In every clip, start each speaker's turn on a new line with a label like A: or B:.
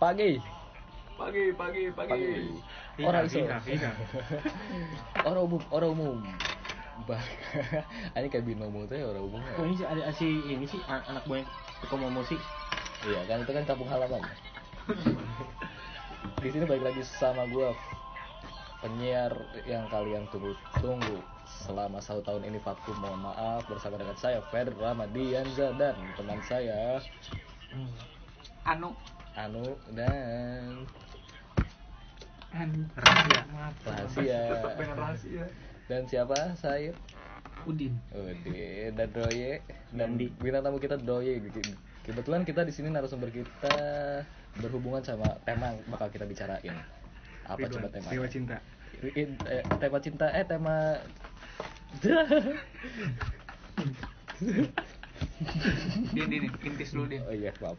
A: pagi
B: Pagi, pagi, pagi.
C: Vina,
A: Orang iso.
C: Vina, Vina.
A: orang umum orang umum bah ini kayak binomo tuh ya orang umum ya.
C: Kok Oh, ini sih ada si ini sih an- anak buah toko momo sih.
A: iya kan itu kan kampung halaman di sini balik lagi sama gua penyiar yang kalian tunggu tunggu selama satu tahun ini vakum mohon maaf bersama dengan saya Fer Ramadianza dan teman saya
B: Anu.
A: Anu dan
B: Anu.
C: Rahasia.
A: Rahasia.
B: Tetap pengen rahasia.
A: dan siapa saya
B: Udin.
A: Ode dan Doye dan
C: Nandi.
A: bintang tamu kita Doye. Kebetulan kita di sini narasumber kita berhubungan sama tema yang bakal kita bicarain. Apa
C: Ridwan,
A: coba tema?
C: Dewa cinta.
A: tema cinta eh tema
B: Din, din, din. intis dulu din.
A: Oh iya, maaf.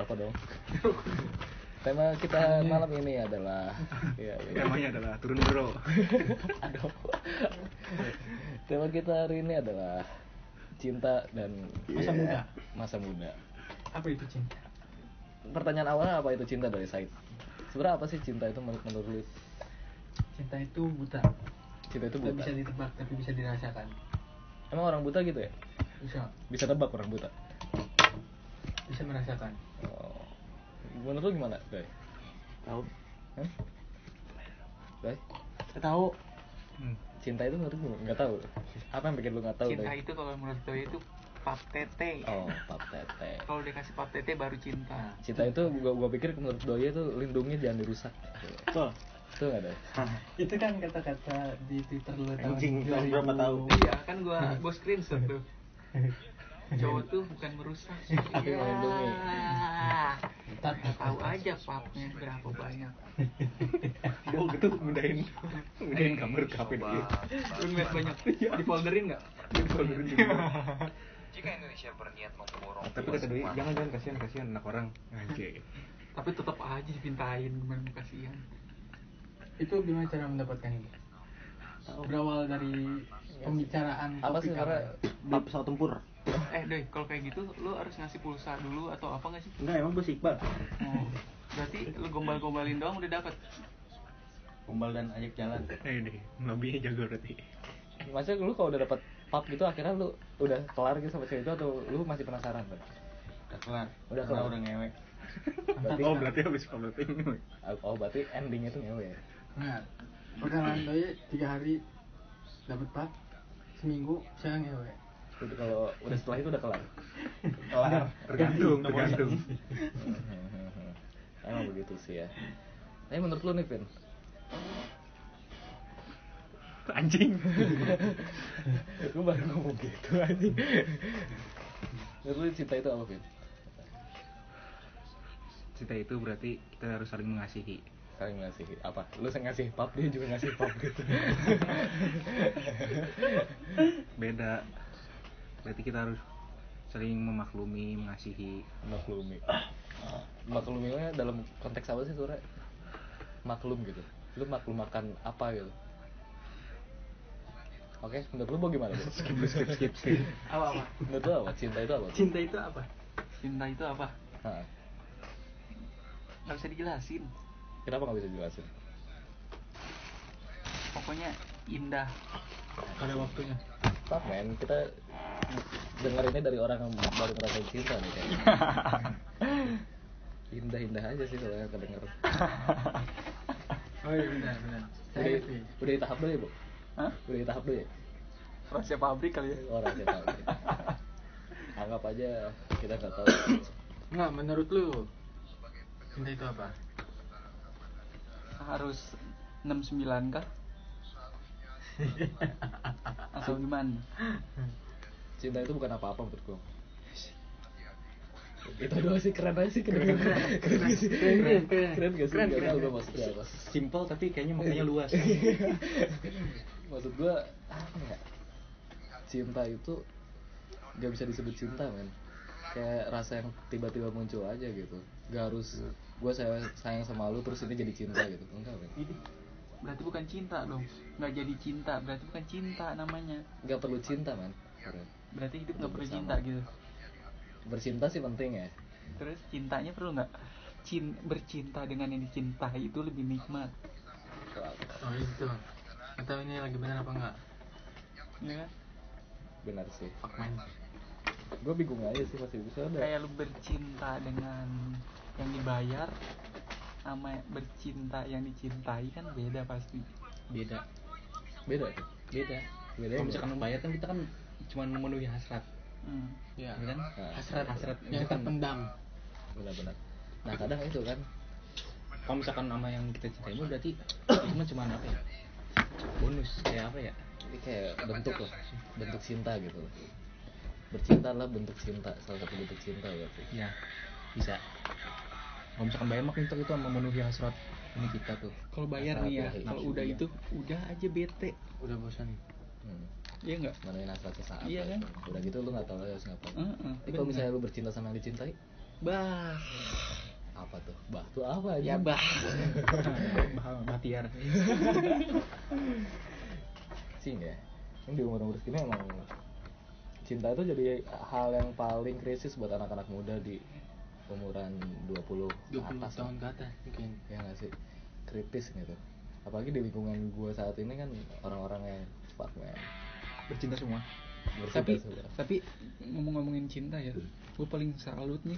A: Apa dong? Tema kita malam ini adalah ya, ya.
C: Temanya adalah turun bro.
A: Aduh. Tema kita hari ini adalah cinta dan Iya.
C: Masa muda.
A: Masa muda.
B: Apa itu cinta?
A: pertanyaan awalnya apa itu cinta dari Said? Sebenarnya apa sih cinta itu menurut menurut lu?
B: Cinta itu buta.
A: Cinta itu
B: Gak
A: buta.
B: bisa ditebak, tapi bisa dirasakan.
A: Emang orang buta gitu ya?
B: Bisa,
A: Bisa tebak orang buta.
B: bisa merasakan.
A: Oh. Menurut lu gimana, Doi?
C: Tahu?
A: Hah? Doi?
C: Tahu.
A: Cinta itu menurut lu nggak tahu. Apa yang bikin lu nggak tahu,
B: Hmm. Cinta
A: Doi?
B: itu kalau menurut gue itu pap tete.
A: Oh, pap tete.
B: Kalau dikasih pap tete baru cinta.
A: Cinta itu gua gua pikir menurut Doi itu lindungi jangan dirusak.
C: Betul.
A: Itu nggak ada.
B: Itu kan kata-kata di Twitter lu
C: tahun Anjing, tahun berapa 2000. tahun?
B: Iya, kan gua gua screenshot tuh. Cowok tuh bukan merusak.
A: Tapi melindungi.
B: Iya. Tapi tahu aja papnya berapa banyak.
C: Oh gitu mudahin mudahin kamar kafe dulu.
B: Lu ngeliat banyak di folderin enggak?
D: Jika Indonesia berniat memborong
C: Tapi kata Dwi, jangan jangan kasihan kasihan anak orang. Oke.
B: Tapi tetap aja dipintain gimana kasihan.
E: itu gimana cara mendapatkan ini? Berawal dari pembicaraan
A: Apa sih
E: topik
A: karena
F: beli pesawat tempur
B: Eh, doi, kalau kayak gitu lu harus ngasih pulsa dulu atau apa nggak sih?
C: Enggak emang bos Iqbal.
B: Oh, berarti lu gombal-gombalin doang udah dapat.
F: gombal dan ajak jalan
C: Eh deh, maminya jago berarti.
A: Maksudnya lu kalau udah dapat pap gitu akhirnya lu udah kelar gitu sama cewek itu atau lu masih penasaran? Doi?
F: udah kelar
A: Udah
F: udah
A: kelar.
F: kelar udah ngewek
A: Berarti
C: Oh berarti habis kamar
A: Oh, berarti endingnya tuh ngewe ya?
E: Nah, perkenalan doi tiga hari dapat pak seminggu ya, saya ngewe.
A: Itu kalau udah setelah itu udah kelar.
F: kelar
C: Tergantung, tergantung.
A: Emang begitu sih ya. Tapi menurut lu nih, Vin,
C: Anjing.
A: lu baru ngomong gitu aja. Menurut lu cinta itu apa, Vin?
C: Cinta itu berarti kita harus saling mengasihi.
A: Saling ngasih apa? Lu saya ngasih pap, dia juga ngasih pap gitu.
C: Beda. Berarti kita harus saling memaklumi, mengasihi.
A: Maklumi. Ah, Makluminya dalam konteks apa sih sebenarnya? Maklum gitu. Lu maklum makan apa gitu? Oke, menurut lu mau gimana? Bu?
C: Skip skip skip.
B: Apa apa?
A: Menurut lu apa? Cinta itu apa? Ah, Bu?
E: Cinta itu apa?
B: Cinta itu apa?
A: Hah.
B: Gak bisa dijelasin.
A: Kenapa nggak bisa jelasin?
B: Pokoknya indah.
E: Pada waktunya.
A: Stop men, kita dengerinnya dari orang yang baru ngerasain cinta nih kayaknya. Indah-indah aja sih kalau yang kedenger
E: Oh iya benar benar. gitu
A: Udah,
E: Saya ngerti.
A: udah di tahap dulu ya bu?
B: Hah?
A: Udah di tahap dulu ya?
B: Rahasia pabrik kali ya.
A: Orang kita Anggap aja kita nggak tahu
E: Nggak, menurut lu cinta itu apa?
B: Harus 69 kah? Atau gimana?
A: Cinta itu bukan apa-apa menurut gua Itu doang sih, keren aja sih Keren, keren, keren, gak sih?
E: Keren, keren, keren.
A: Keren gak sih?
E: Keren,
A: Nggak
E: keren,
A: tahu
E: keren.
A: gua maksudnya apa.
C: Simple tapi kayaknya maknanya luas.
A: maksud gue apa ya cinta itu gak bisa disebut cinta men kayak rasa yang tiba-tiba muncul aja gitu gak harus gue sayang, sayang sama lu terus ini jadi cinta gitu enggak men
B: Berarti bukan cinta dong. Nggak jadi cinta. Berarti bukan cinta namanya.
A: gak perlu cinta men
B: Berarti hidup nggak perlu
A: Bersama.
B: cinta gitu.
A: bercinta sih penting ya
B: Terus cintanya perlu nggak? cin bercinta dengan yang dicintai itu lebih nikmat
E: oh itu atau ini lagi benar apa enggak
B: ya kan?
A: benar sih
E: fuck man
A: gue bingung aja sih masih bisa
C: Iya.
A: ada
B: kayak lu bercinta dengan yang dibayar sama bercinta yang dicintai kan beda pasti
C: beda
A: beda
C: beda
A: beda ya?
C: kalau misalkan membayar kan kita kan cuma memenuhi hasrat
B: Hmm.
C: ya kan
E: Iya. hasrat kan
C: hasrat
E: yang
C: bukan.
E: terpendam
A: benar-benar nah kadang itu kan
C: kalau misalkan nama yang kita cintai itu berarti cuma cuma apa ya bonus kayak apa ya
A: ini kayak bentuk lah bentuk cinta gitu loh bercinta lah bentuk cinta salah satu bentuk cinta berarti
C: ya bisa kalau misalkan bayar mah itu itu memenuhi hasrat ini kita tuh
B: kalau bayar nih
C: Iya,
B: ya
A: Laki-laki.
B: kalau udah itu udah aja bete
E: udah bosan
A: hmm.
B: ya enggak
A: menuhin hasrat sesaat
B: Iya
A: lah
B: kan?
A: itu. udah gitu lu nggak tahu lagi harus ngapain
B: Heeh,
A: Tapi kalau
B: benar.
A: misalnya lu bercinta sama yang dicintai
B: bah
A: apa tuh bah tuh apa aja
B: ya bah
C: Batiar
A: sih ya yang di umur umur segini emang cinta itu jadi hal yang paling krisis buat anak-anak muda di umuran 20 ke
E: 20
A: atas
E: tahun ke atas mungkin
A: ya nggak sih kritis gitu apalagi di lingkungan gua saat ini kan orang-orang yang fuck man
C: bercinta semua
A: Bercinta
B: tapi
A: sudah.
B: tapi ngomong-ngomongin cinta ya gue paling salut nih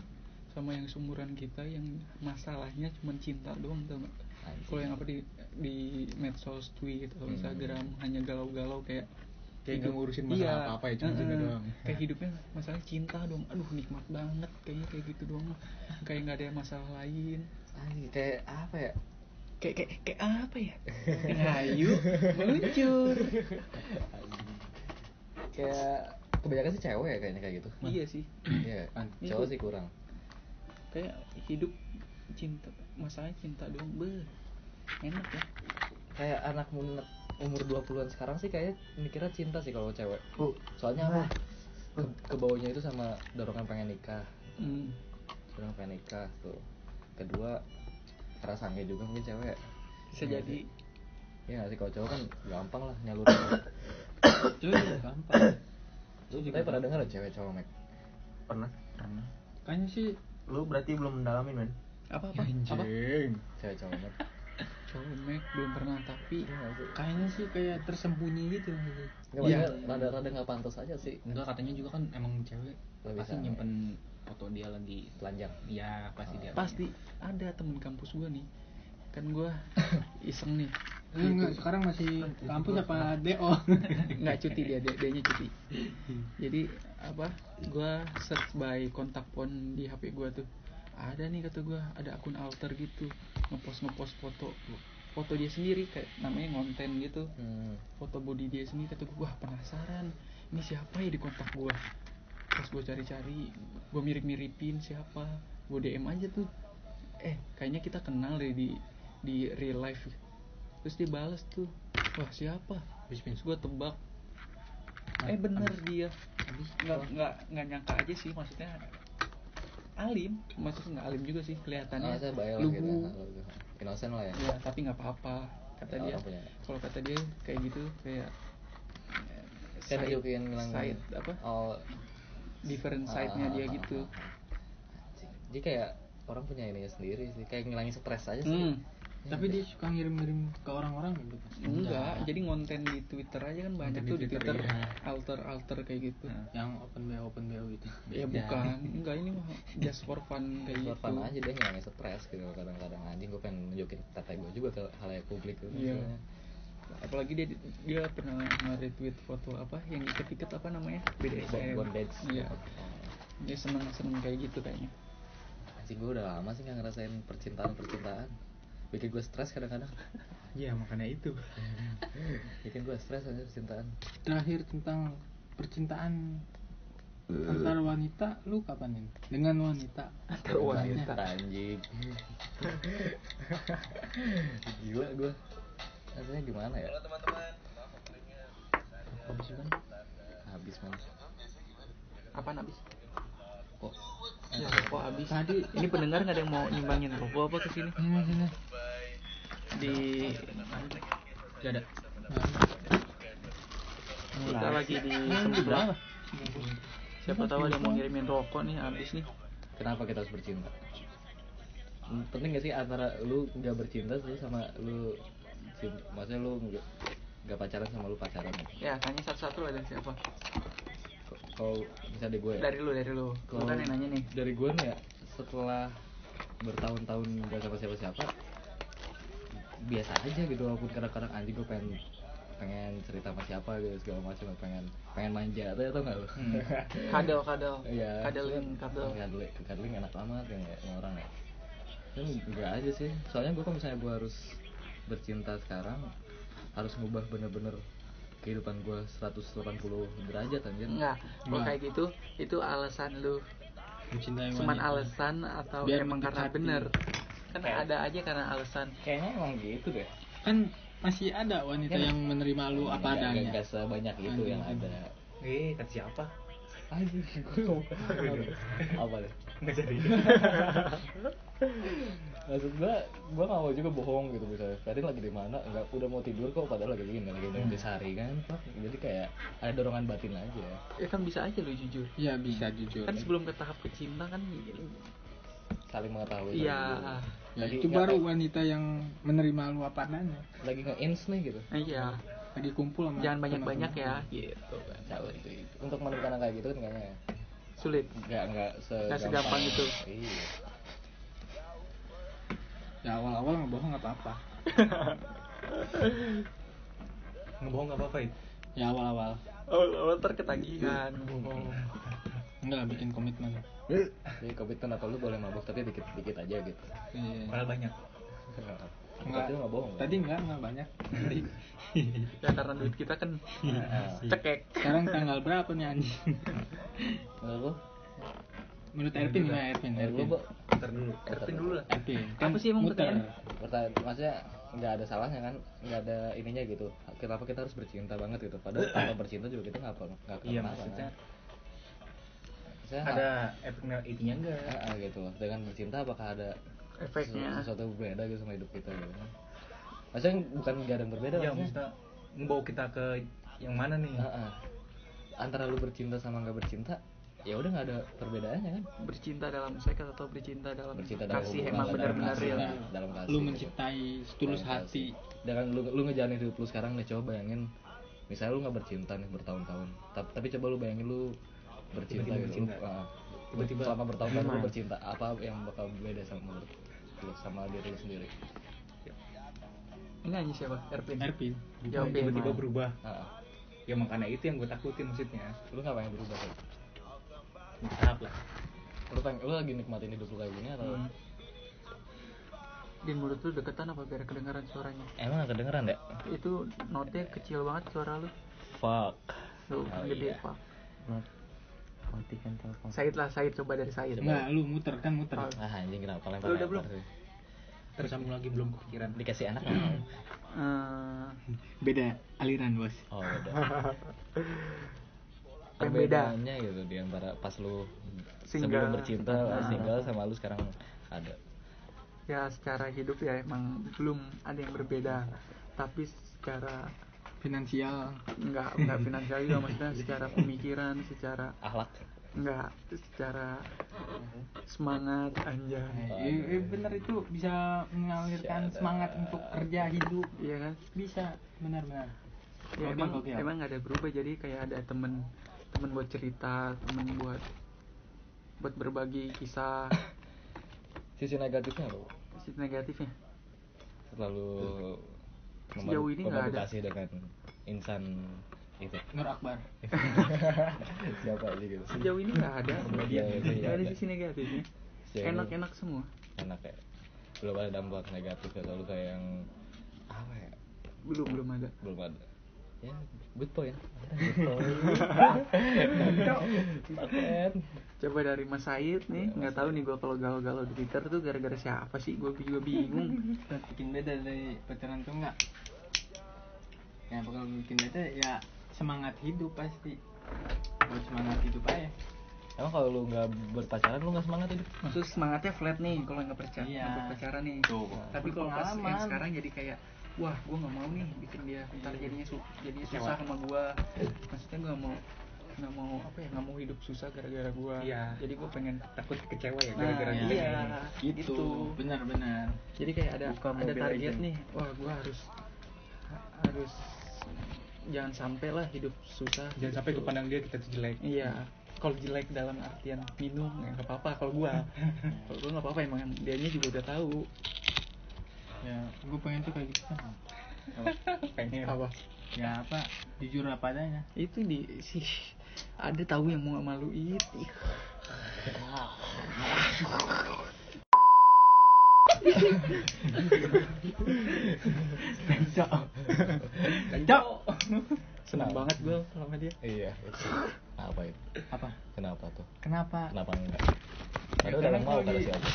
B: sama yang seumuran kita yang masalahnya cuma cinta doang tau nggak?
A: Anjing.
B: kalau yang apa di di medsos tweet atau
A: Hmm.
B: instagram hanya galau-galau kayak
C: Kayak nggak
B: hidup-
C: ngurusin masalah apa-apa ya, cuma
B: eh,
C: cinta
B: eh,
C: doang.
B: kayak hidupnya masalah cinta doang aduh nikmat banget kayaknya kayak gitu doang kayak nggak ada masalah lain
A: Anjing, kayak apa ya
B: kayak kayak kayak apa ya ngayu meluncur
A: kayak kebanyakan sih cewek ya kayaknya kayak gitu
B: iya sih
A: iya
C: Pan.
A: cowok sih kurang
B: kayak hidup cinta masalahnya cinta doang be enak ya
A: kayak anak muda umur 20-an sekarang sih kayak mikirnya cinta sih kalau cewek
B: Oh.
F: Bu.
A: soalnya
B: Ah.
A: apa ke, kebawahnya itu sama dorongan pengen nikah
B: hmm.
A: dorongan pengen nikah tuh kedua karena sange juga mungkin cewek
B: bisa
E: Iya,
B: jadi
A: ya nggak sih kalau cowok kan gampang lah nyalurin
E: itu ya gampang
A: lu juga pernah dengar cewek cowok mek
F: Pernah?
C: pernah
E: kayaknya sih Ya,
F: Lu berarti belum mendalamin, men?
B: apa apa apa
C: anjing
A: cewek cowok mek
B: comek belum pernah tapi
A: Iya nggak sih?
E: kayaknya sih kayak tersembunyi gitu
A: Nggak,
B: Iya.
A: maksudnya rada-rada nggak pantas aja sih
C: enggak katanya juga kan emang cewek
A: Lebih
C: pasti
A: santai.
C: nyimpen foto dia lagi
A: telanjang
C: ya pasti dia
B: pasti ada temen kampus gua nih kan gua iseng nih
E: Lu enggak, sekarang masih kampus apa DO?
B: nggak cuti dia dia dianya cuti jadi apa gua search by kontak pon di hp gua tuh ada nih kata gua ada akun alter gitu ngepost ngepost foto foto dia sendiri kayak namanya konten gitu
A: hmm.
B: foto body dia sendiri kata gue wah penasaran ini siapa ya di kontak gue pas gue cari-cari gue mirip-miripin siapa gue DM aja tuh eh kayaknya kita kenal deh di di real life terus dia balas tuh wah siapa terus gue tebak eh bener dia nggak nggak nggak nyangka aja sih maksudnya alim maksudnya nggak alim juga sih kelihatannya
A: saya bayar lah gitu
B: lugu
A: inosen lah ya
B: ya tapi nggak apa-apa kata
A: Ya,
B: dia
A: orang punya.
B: kalau kata dia kayak gitu kayak eh,
A: saya
B: side-
A: diukin bilang
B: side apa
A: oh ah,
B: different side nya dia gitu
A: iya jadi kayak orang punya ininya sendiri sih kayak ngilangin stres aja sih
B: hmm.
C: Ya,
E: Tapi dia suka ngirim-ngirim ke orang-orang gitu.
B: enggak jadi ngonten di twitter aja kan
C: Konten
B: banyak
C: di
B: tuh di
C: Twitter,
B: twitter
C: iya.
B: alter alter kayak gitu
C: Nah. iya.
E: Yang open BO open BO gitu.
B: ya
C: Beda.
B: bukan enggak ini mah just for fun kayak
A: Buat
B: gitu
A: fun aja dia ngilangin stres gitu kadang-kadang anjing gue pengen nunjukin tete gue juga ke halayak publik gitu
B: Iya.
A: misalnya.
B: apalagi dia dia pernah nge-retweet foto apa yang ikat-ikat apa namanya BDSM
A: bondage
B: iya
A: Oh.
B: dia seneng seneng kayak gitu kayaknya
A: anjing gue udah lama sih nggak ngerasain percintaan percintaan bikin gue stres kadang-kadang
C: ya makanya itu
A: bikin gue stres aja percintaan
E: Terakhir tentang percintaan antar wanita, lu kapan nih? Dengan wanita.
B: antar wanita
A: anjing gila gue rasanya gimana ya
C: habis itu kan
A: habis man
B: apa habis
A: kok
B: ya kok habis
E: Tadi
B: ini pendengar nggak ada yang mau nyumbangin rokok apa ke sini
E: ini sini.
B: di
C: gak ada
B: kita
E: Nah.
B: lagi di seberang siapa tahu ada yang mau ngirimin rokok nih habis nih
A: kenapa kita harus bercinta Hmm, penting gak sih antara lu nggak bercinta sih sama lu cinta maksudnya lu nggak nggak pacaran sama lu pacaran
B: ya tanya satu-satu lah dari siapa
A: K- kalau misalnya dari gue ya
B: dari lu dari lu lu kan yang nanya nih
A: dari gue nih ya setelah bertahun-tahun gak sama siapa-siapa biasa aja gitu walaupun kadang-kadang anjing gue pengen pengen cerita sama siapa gitu segala macam pengen pengen manja tuh atau nggak lu
B: kadal kadal
A: Iya.
B: kadalin kadal
A: Hmm. Cuddling, cuddling enak banget ya nggak, sama orang ya. Kan enggak aja sih. Soalnya gue kalau misalnya gue harus bercinta sekarang harus ngubah bener-bener kehidupan gue 180 derajat anjir.
B: Enggak, kalau kayak gitu itu alasan lu
E: mencintai
B: cuman
E: wanita.
B: alasan atau
E: gitu. Biar
B: emang karena
E: mendekati.
B: bener kan ada aja karena alasan
A: Kayaknya emang gitu deh.
E: kan masih ada wanita
B: Iya.
E: yang menerima lu
C: Iya,
E: apa
A: Nggak-
E: adanya
A: nggak- nggak sebanyak itu yang ada.
C: Eh, kata siapa?
A: Anjir, gue ngomong apa deh?
C: Nggak jadi.
A: Maksud gue, gue gak mau juga bohong gitu misalnya Kadang lagi di mana, nggak udah mau tidur kok padahal lagi ini lagi nunggu sehari kan Fuck. Jadi kayak ada dorongan batin aja
B: ya kan bisa aja lu jujur
E: ya bisa jujur
B: kan sebelum ke tahap kecinta kan
A: Saling mengetahui
B: Iya.
A: saling dulu.
E: ya,
A: Lagi
E: itu
A: nggak-
E: baru wanita yang menerima lu apa adanya
A: Lagi nge-ins nih gitu
B: eh, iya
E: lagi kumpul sama
B: jangan banyak
E: teman-teman.
B: banyak ya gitu kan
A: Jauh itu. Untuk menemukan anak kayak gitu kan kayaknya
B: sulit
A: Gak, gak segampang,
B: segampang
E: gitu.
B: itu.
A: Iya
E: ya awal-awal ngebohong nggak apa-apa
C: Ngebohong nggak apa-apa itu.
E: ya awal-awal
B: oh lo terketagihan
E: enggak lah bikin komitmen Iya,
A: Jadi komitmen atau lu boleh mabok tapi dikit-dikit aja gitu
E: Iya.
C: Padahal banyak.
E: Nggak.
A: Tapi lu gak bohong kan?
E: tadi enggak enggak banyak Tadi.
B: ya karena duit kita kan
A: Nah,
C: Iya.
B: cekek
E: sekarang tanggal berapa nih anjing
A: Menurut lu?
E: menurut Erpin gimana Erpin
A: Menurut lu, Bo?
C: Ntar dulu.
B: Erpin dulu lah
E: Erpin
B: Apa sih emang
E: kan muter
B: pertanyaan?
A: pertanyaan maksudnya nggak ada salahnya kan nggak ada ininya gitu kenapa kita harus bercinta banget gitu padahal tanpa bercinta juga kita nggak per- nggak
C: Iya,
A: kenapa
C: maksudnya
A: kan saya
C: ada efeknya itinya enggak?
A: gitu loh dengan bercinta apakah ada sesu-
B: efeknya
A: sesuatu yang berbeda gitu sama hidup kita gitu kan maksudnya bukan nggak ada yang berbeda
C: Iya,
A: maksudnya
C: maksudnya ngebawa kita ke yang mana nih?
A: Heeh. antara lu bercinta sama nggak bercinta ya udah nggak ada perbedaannya kan
B: bercinta dalam seks atau bercinta dalam
A: bercinta dalam
B: kasih
A: hubungan,
B: emang
A: dalam
B: benar-benar
A: kasih,
B: real
A: dalam- dalam kasih
E: lu
A: gitu.
E: mencintai setulus
A: Orientasi.
E: hati
A: dengan lu lu ngejalanin hidup lu sekarang nih coba bayangin misalnya lu nggak bercinta nih bertahun-tahun tapi, tapi coba lu bayangin lu bercinta
C: Tiba-tiba
A: gitu
C: bercinta.
A: Lu, ah,
C: Tiba-tiba
A: selama bertahun-tahun lu
B: gimana?
A: bercinta apa yang bakal beda sama lu, lu- sama diri lu sendiri
B: ini aja siapa Erpin
E: Erpin
C: Berubah,
B: Jawab
C: tiba-tiba
B: Erpin.
C: berubah.
A: Ah, ah.
C: Ya makanya itu yang gue takutin maksudnya.
A: lu nggak pengen berubah kan?
C: Tahap lah.
A: lu pengen lu lagi nikmatin hidup lu kayak gini atau
B: Hmm. Din menurut lu deketan apa biar kedengaran suaranya?
A: emang nggak kedengeran ya
B: Itu notnya kecil banget suara lu.
A: fuck
B: Lu
A: Oh, iya.
B: gede pak.
F: matikan telepon
B: Said lah Said coba dari Said.
E: enggak lu muter kan muter
B: Oh,
A: ah anjing kenapa lempar
B: Lu udah
A: lempar
B: belum?
A: sih?
C: Terus kamu lagi belum kepikiran.
A: dikasih anak nggak?
B: eh,
E: beda aliran bos
A: oh udah
B: Pembeda.
A: perbedaannya gitu di antara pas lu
B: Single.
A: sebelum bercinta
B: Nah.
A: single sama lu sekarang ada
B: ya secara hidup ya emang belum ada yang berbeda. Tapi secara
E: finansial
B: enggak enggak finansial juga maksudnya secara pemikiran, secara
A: akhlak
B: enggak secara semangat anjay.
E: Eh, iya, iya, bener itu bisa mengalirkan
A: Siada.
E: semangat untuk kerja hidup
B: Iya kan?
E: bisa benar-benar
B: ya
E: Gokil,
B: emang
E: gokil.
B: emang nggak ada berubah jadi kayak ada temen temen buat cerita temen buat buat berbagi kisah
A: sisi negatifnya lo
B: sisi negatifnya
A: terlalu
B: Sejauh ini nggak ada.
A: komunikasi dengan insan itu
E: Nur Akbar
A: siapa aja gitu
B: sejauh ini nggak ada
A: Iya, iya, iya,
B: nggak ada
A: iya.
B: sisi negatifnya
A: Sejauh ini-
B: enak-enak semua
A: enak ya belum ada dampak negatif atau lu kayak yang apa ya
B: belum belum ada
A: belum ada ya good point Paten.
B: coba dari Mas Said nih
A: Iya,
B: nggak tahu nih gue kalau galau-galau di Twitter tuh gara-gara siapa sih gue juga bingung
E: Terus bikin beda dari pacaran tuh enggak ya bakal bikin beda ya semangat hidup pasti buat semangat hidup aja
A: emang kalau lu nggak berpacaran lu nggak semangat hidup
B: maksud semangatnya flat nih kalau nggak percaya
E: Iya.
B: nggak pacaran nih
E: Tuh.
B: tapi kalau pas yang
E: Pengalaman.
B: sekarang jadi kayak wah gue nggak mau nih bikin dia ntar jadinya su jadinya susah sama gue maksudnya gue mau nggak mau apa ya nggak mau hidup susah gara-gara gua
D: Iya.
B: jadi gua pengen
D: takut kecewa ya
B: Nah,
D: gara-gara dia Gitu.
B: iya.
D: ini.
E: itu benar-benar
B: jadi kayak ada
G: Buka
B: ada
G: Mobile
B: target
G: Legends.
B: nih wah gua harus ha- harus jangan sampai lah hidup susah
D: jangan sampai kepandang dia kita tuh jelek
B: iya kalau jelek dalam artian minum ya nggak apa-apa kalau gua kalau gua nggak apa-apa emang dianya juga udah tahu
E: ya gue pengen tuh kayak gitu kan
D: pengen
B: apa
E: ya apa jujur apa adanya
B: itu di sih ada tahu yang mau maluin Ih,
E: Cok.
B: senang
G: Nah.
B: banget gua sama dia
A: iya itu. apa itu
E: apa
A: kenapa tuh
E: kenapa
B: Nah.
A: kenapa enggak
E: Ya,
A: ada
E: karena
A: orang mau
E: kalau
A: kata
E: di-
A: siapa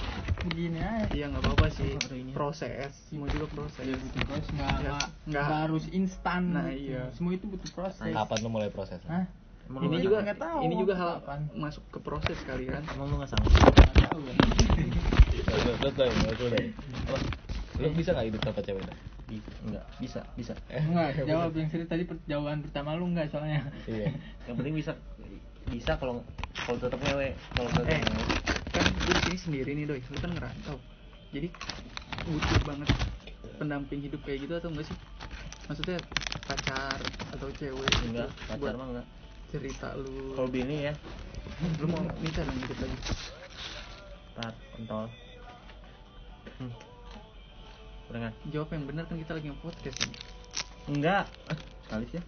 E: begini aja
B: iya nggak apa-apa sih
E: Apa ini?
B: proses semua juga proses
G: Iya,
E: ya
G: gitu.
E: butuh proses nggak
B: Ya,
E: nggak
B: nggak.
E: nggak harus instan gitu.
B: Nah, iya.
E: semua itu butuh proses
A: kapan lu mulai prosesnya
E: Hah?
B: ini juga
E: nggak tahu
B: ini juga hal
E: kapan.
B: masuk ke proses kali kan
G: Emang lu gak sanggup?
E: Nggak
A: Lu-
E: tahu ya.
A: lu- lu- lu- lu- lu- lu- lu- lu bisa nggak hidup tanpa cewek dah?
G: Enggak, bisa, bisa
A: Eh,
E: Enggak,
G: ya
E: jawab yang serius tadi perjauhan pertama lu enggak soalnya.
A: iya
G: Yang penting bisa Bisa kalau kalau tetep ngewe Kalau tetep
B: Eh.
G: ngewe
B: kan gue di sini sendiri nih doi lu kan ngerantau jadi butuh banget pendamping hidup kayak gitu atau enggak sih maksudnya pacar atau cewek gitu
G: Enggak, pacar
B: buat
G: mah enggak
B: cerita lu
G: Kalau bini ya
B: lu mau nikah dong dikit lagi
G: Tar, kontol hmm. Kurangan
B: jawab yang benar kan kita lagi nge-podcast nih
G: Enggak Ah, Sekali sih ya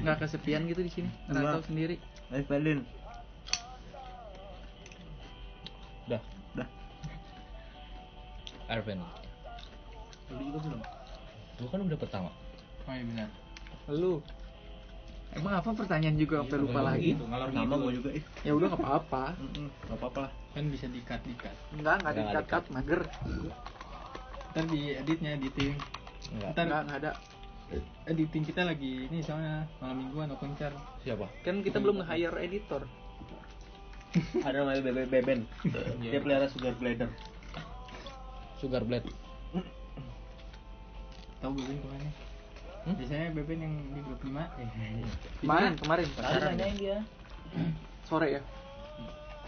B: nggak kesepian gitu di sini ngerantau
G: Enggak.
B: sendiri
G: Ayo Valin
A: dah
G: Dah
A: Arvin
G: Lu juga belum?
A: lu kan udah pertama
E: Oh iya benar.
B: lu emang apa pertanyaan juga sampai lupa lagi
D: itu ngalor gitu.
G: Sama
D: Eh,
A: gitu.
D: ngidul
G: gue juga ih
B: ya udah nggak apa-apa
G: Mm-mm, Gak apa-apa lah
E: Kan bisa dikat-dikat.
B: enggak nggak
A: Nggak
B: dikat cut mager
E: Ntar di editnya editing.
A: enggak
E: Ntar
B: enggak nggak ada
E: editing kita lagi ini soalnya malam mingguan no konser.
A: siapa
B: kan kita belum hire editor
G: Ada namanya Bebe Beben
E: Iya.
G: Dia pelihara sugar glider
A: Sugar Blade
E: Tahu Beben kemana?
G: Hmm?
E: Biasanya Beben yang di grup 5 eh.
B: kemarin kemarin
G: Tadi nanyain dia
B: sore ya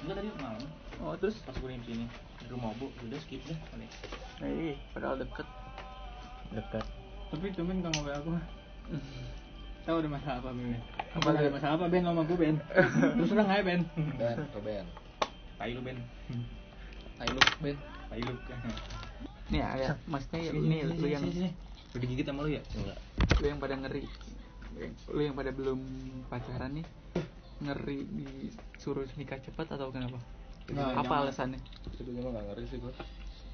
D: enggak tadi malam
B: oh terus
D: pas gue di sini gue mabuk udah skip deh Oke.
B: Eh, padahal deket.
G: Dekat
E: Tapi cuman kalau ngobrol aku Tahu ada masalah apa Beben?
B: Apa,
E: Apa ada
B: Ben?
E: masalah apa Ben lo sama gue Ben? Terus terang aja Ben.
A: Ben Ben
D: tai lu ben
G: Hmm.
A: I love Ben
D: tai lu
B: Nih ada, maksudnya
D: Iya,
B: ini lu yang
D: udah digigit sama lu ya
A: enggak
B: lu yang pada ngeri, lu yang pada belum pacaran nih ngeri disuruh nikah cepat atau kenapa?
E: Nggak,
B: apa
E: jangan.
B: alasannya?
A: itu juga nggak ngeri sih gua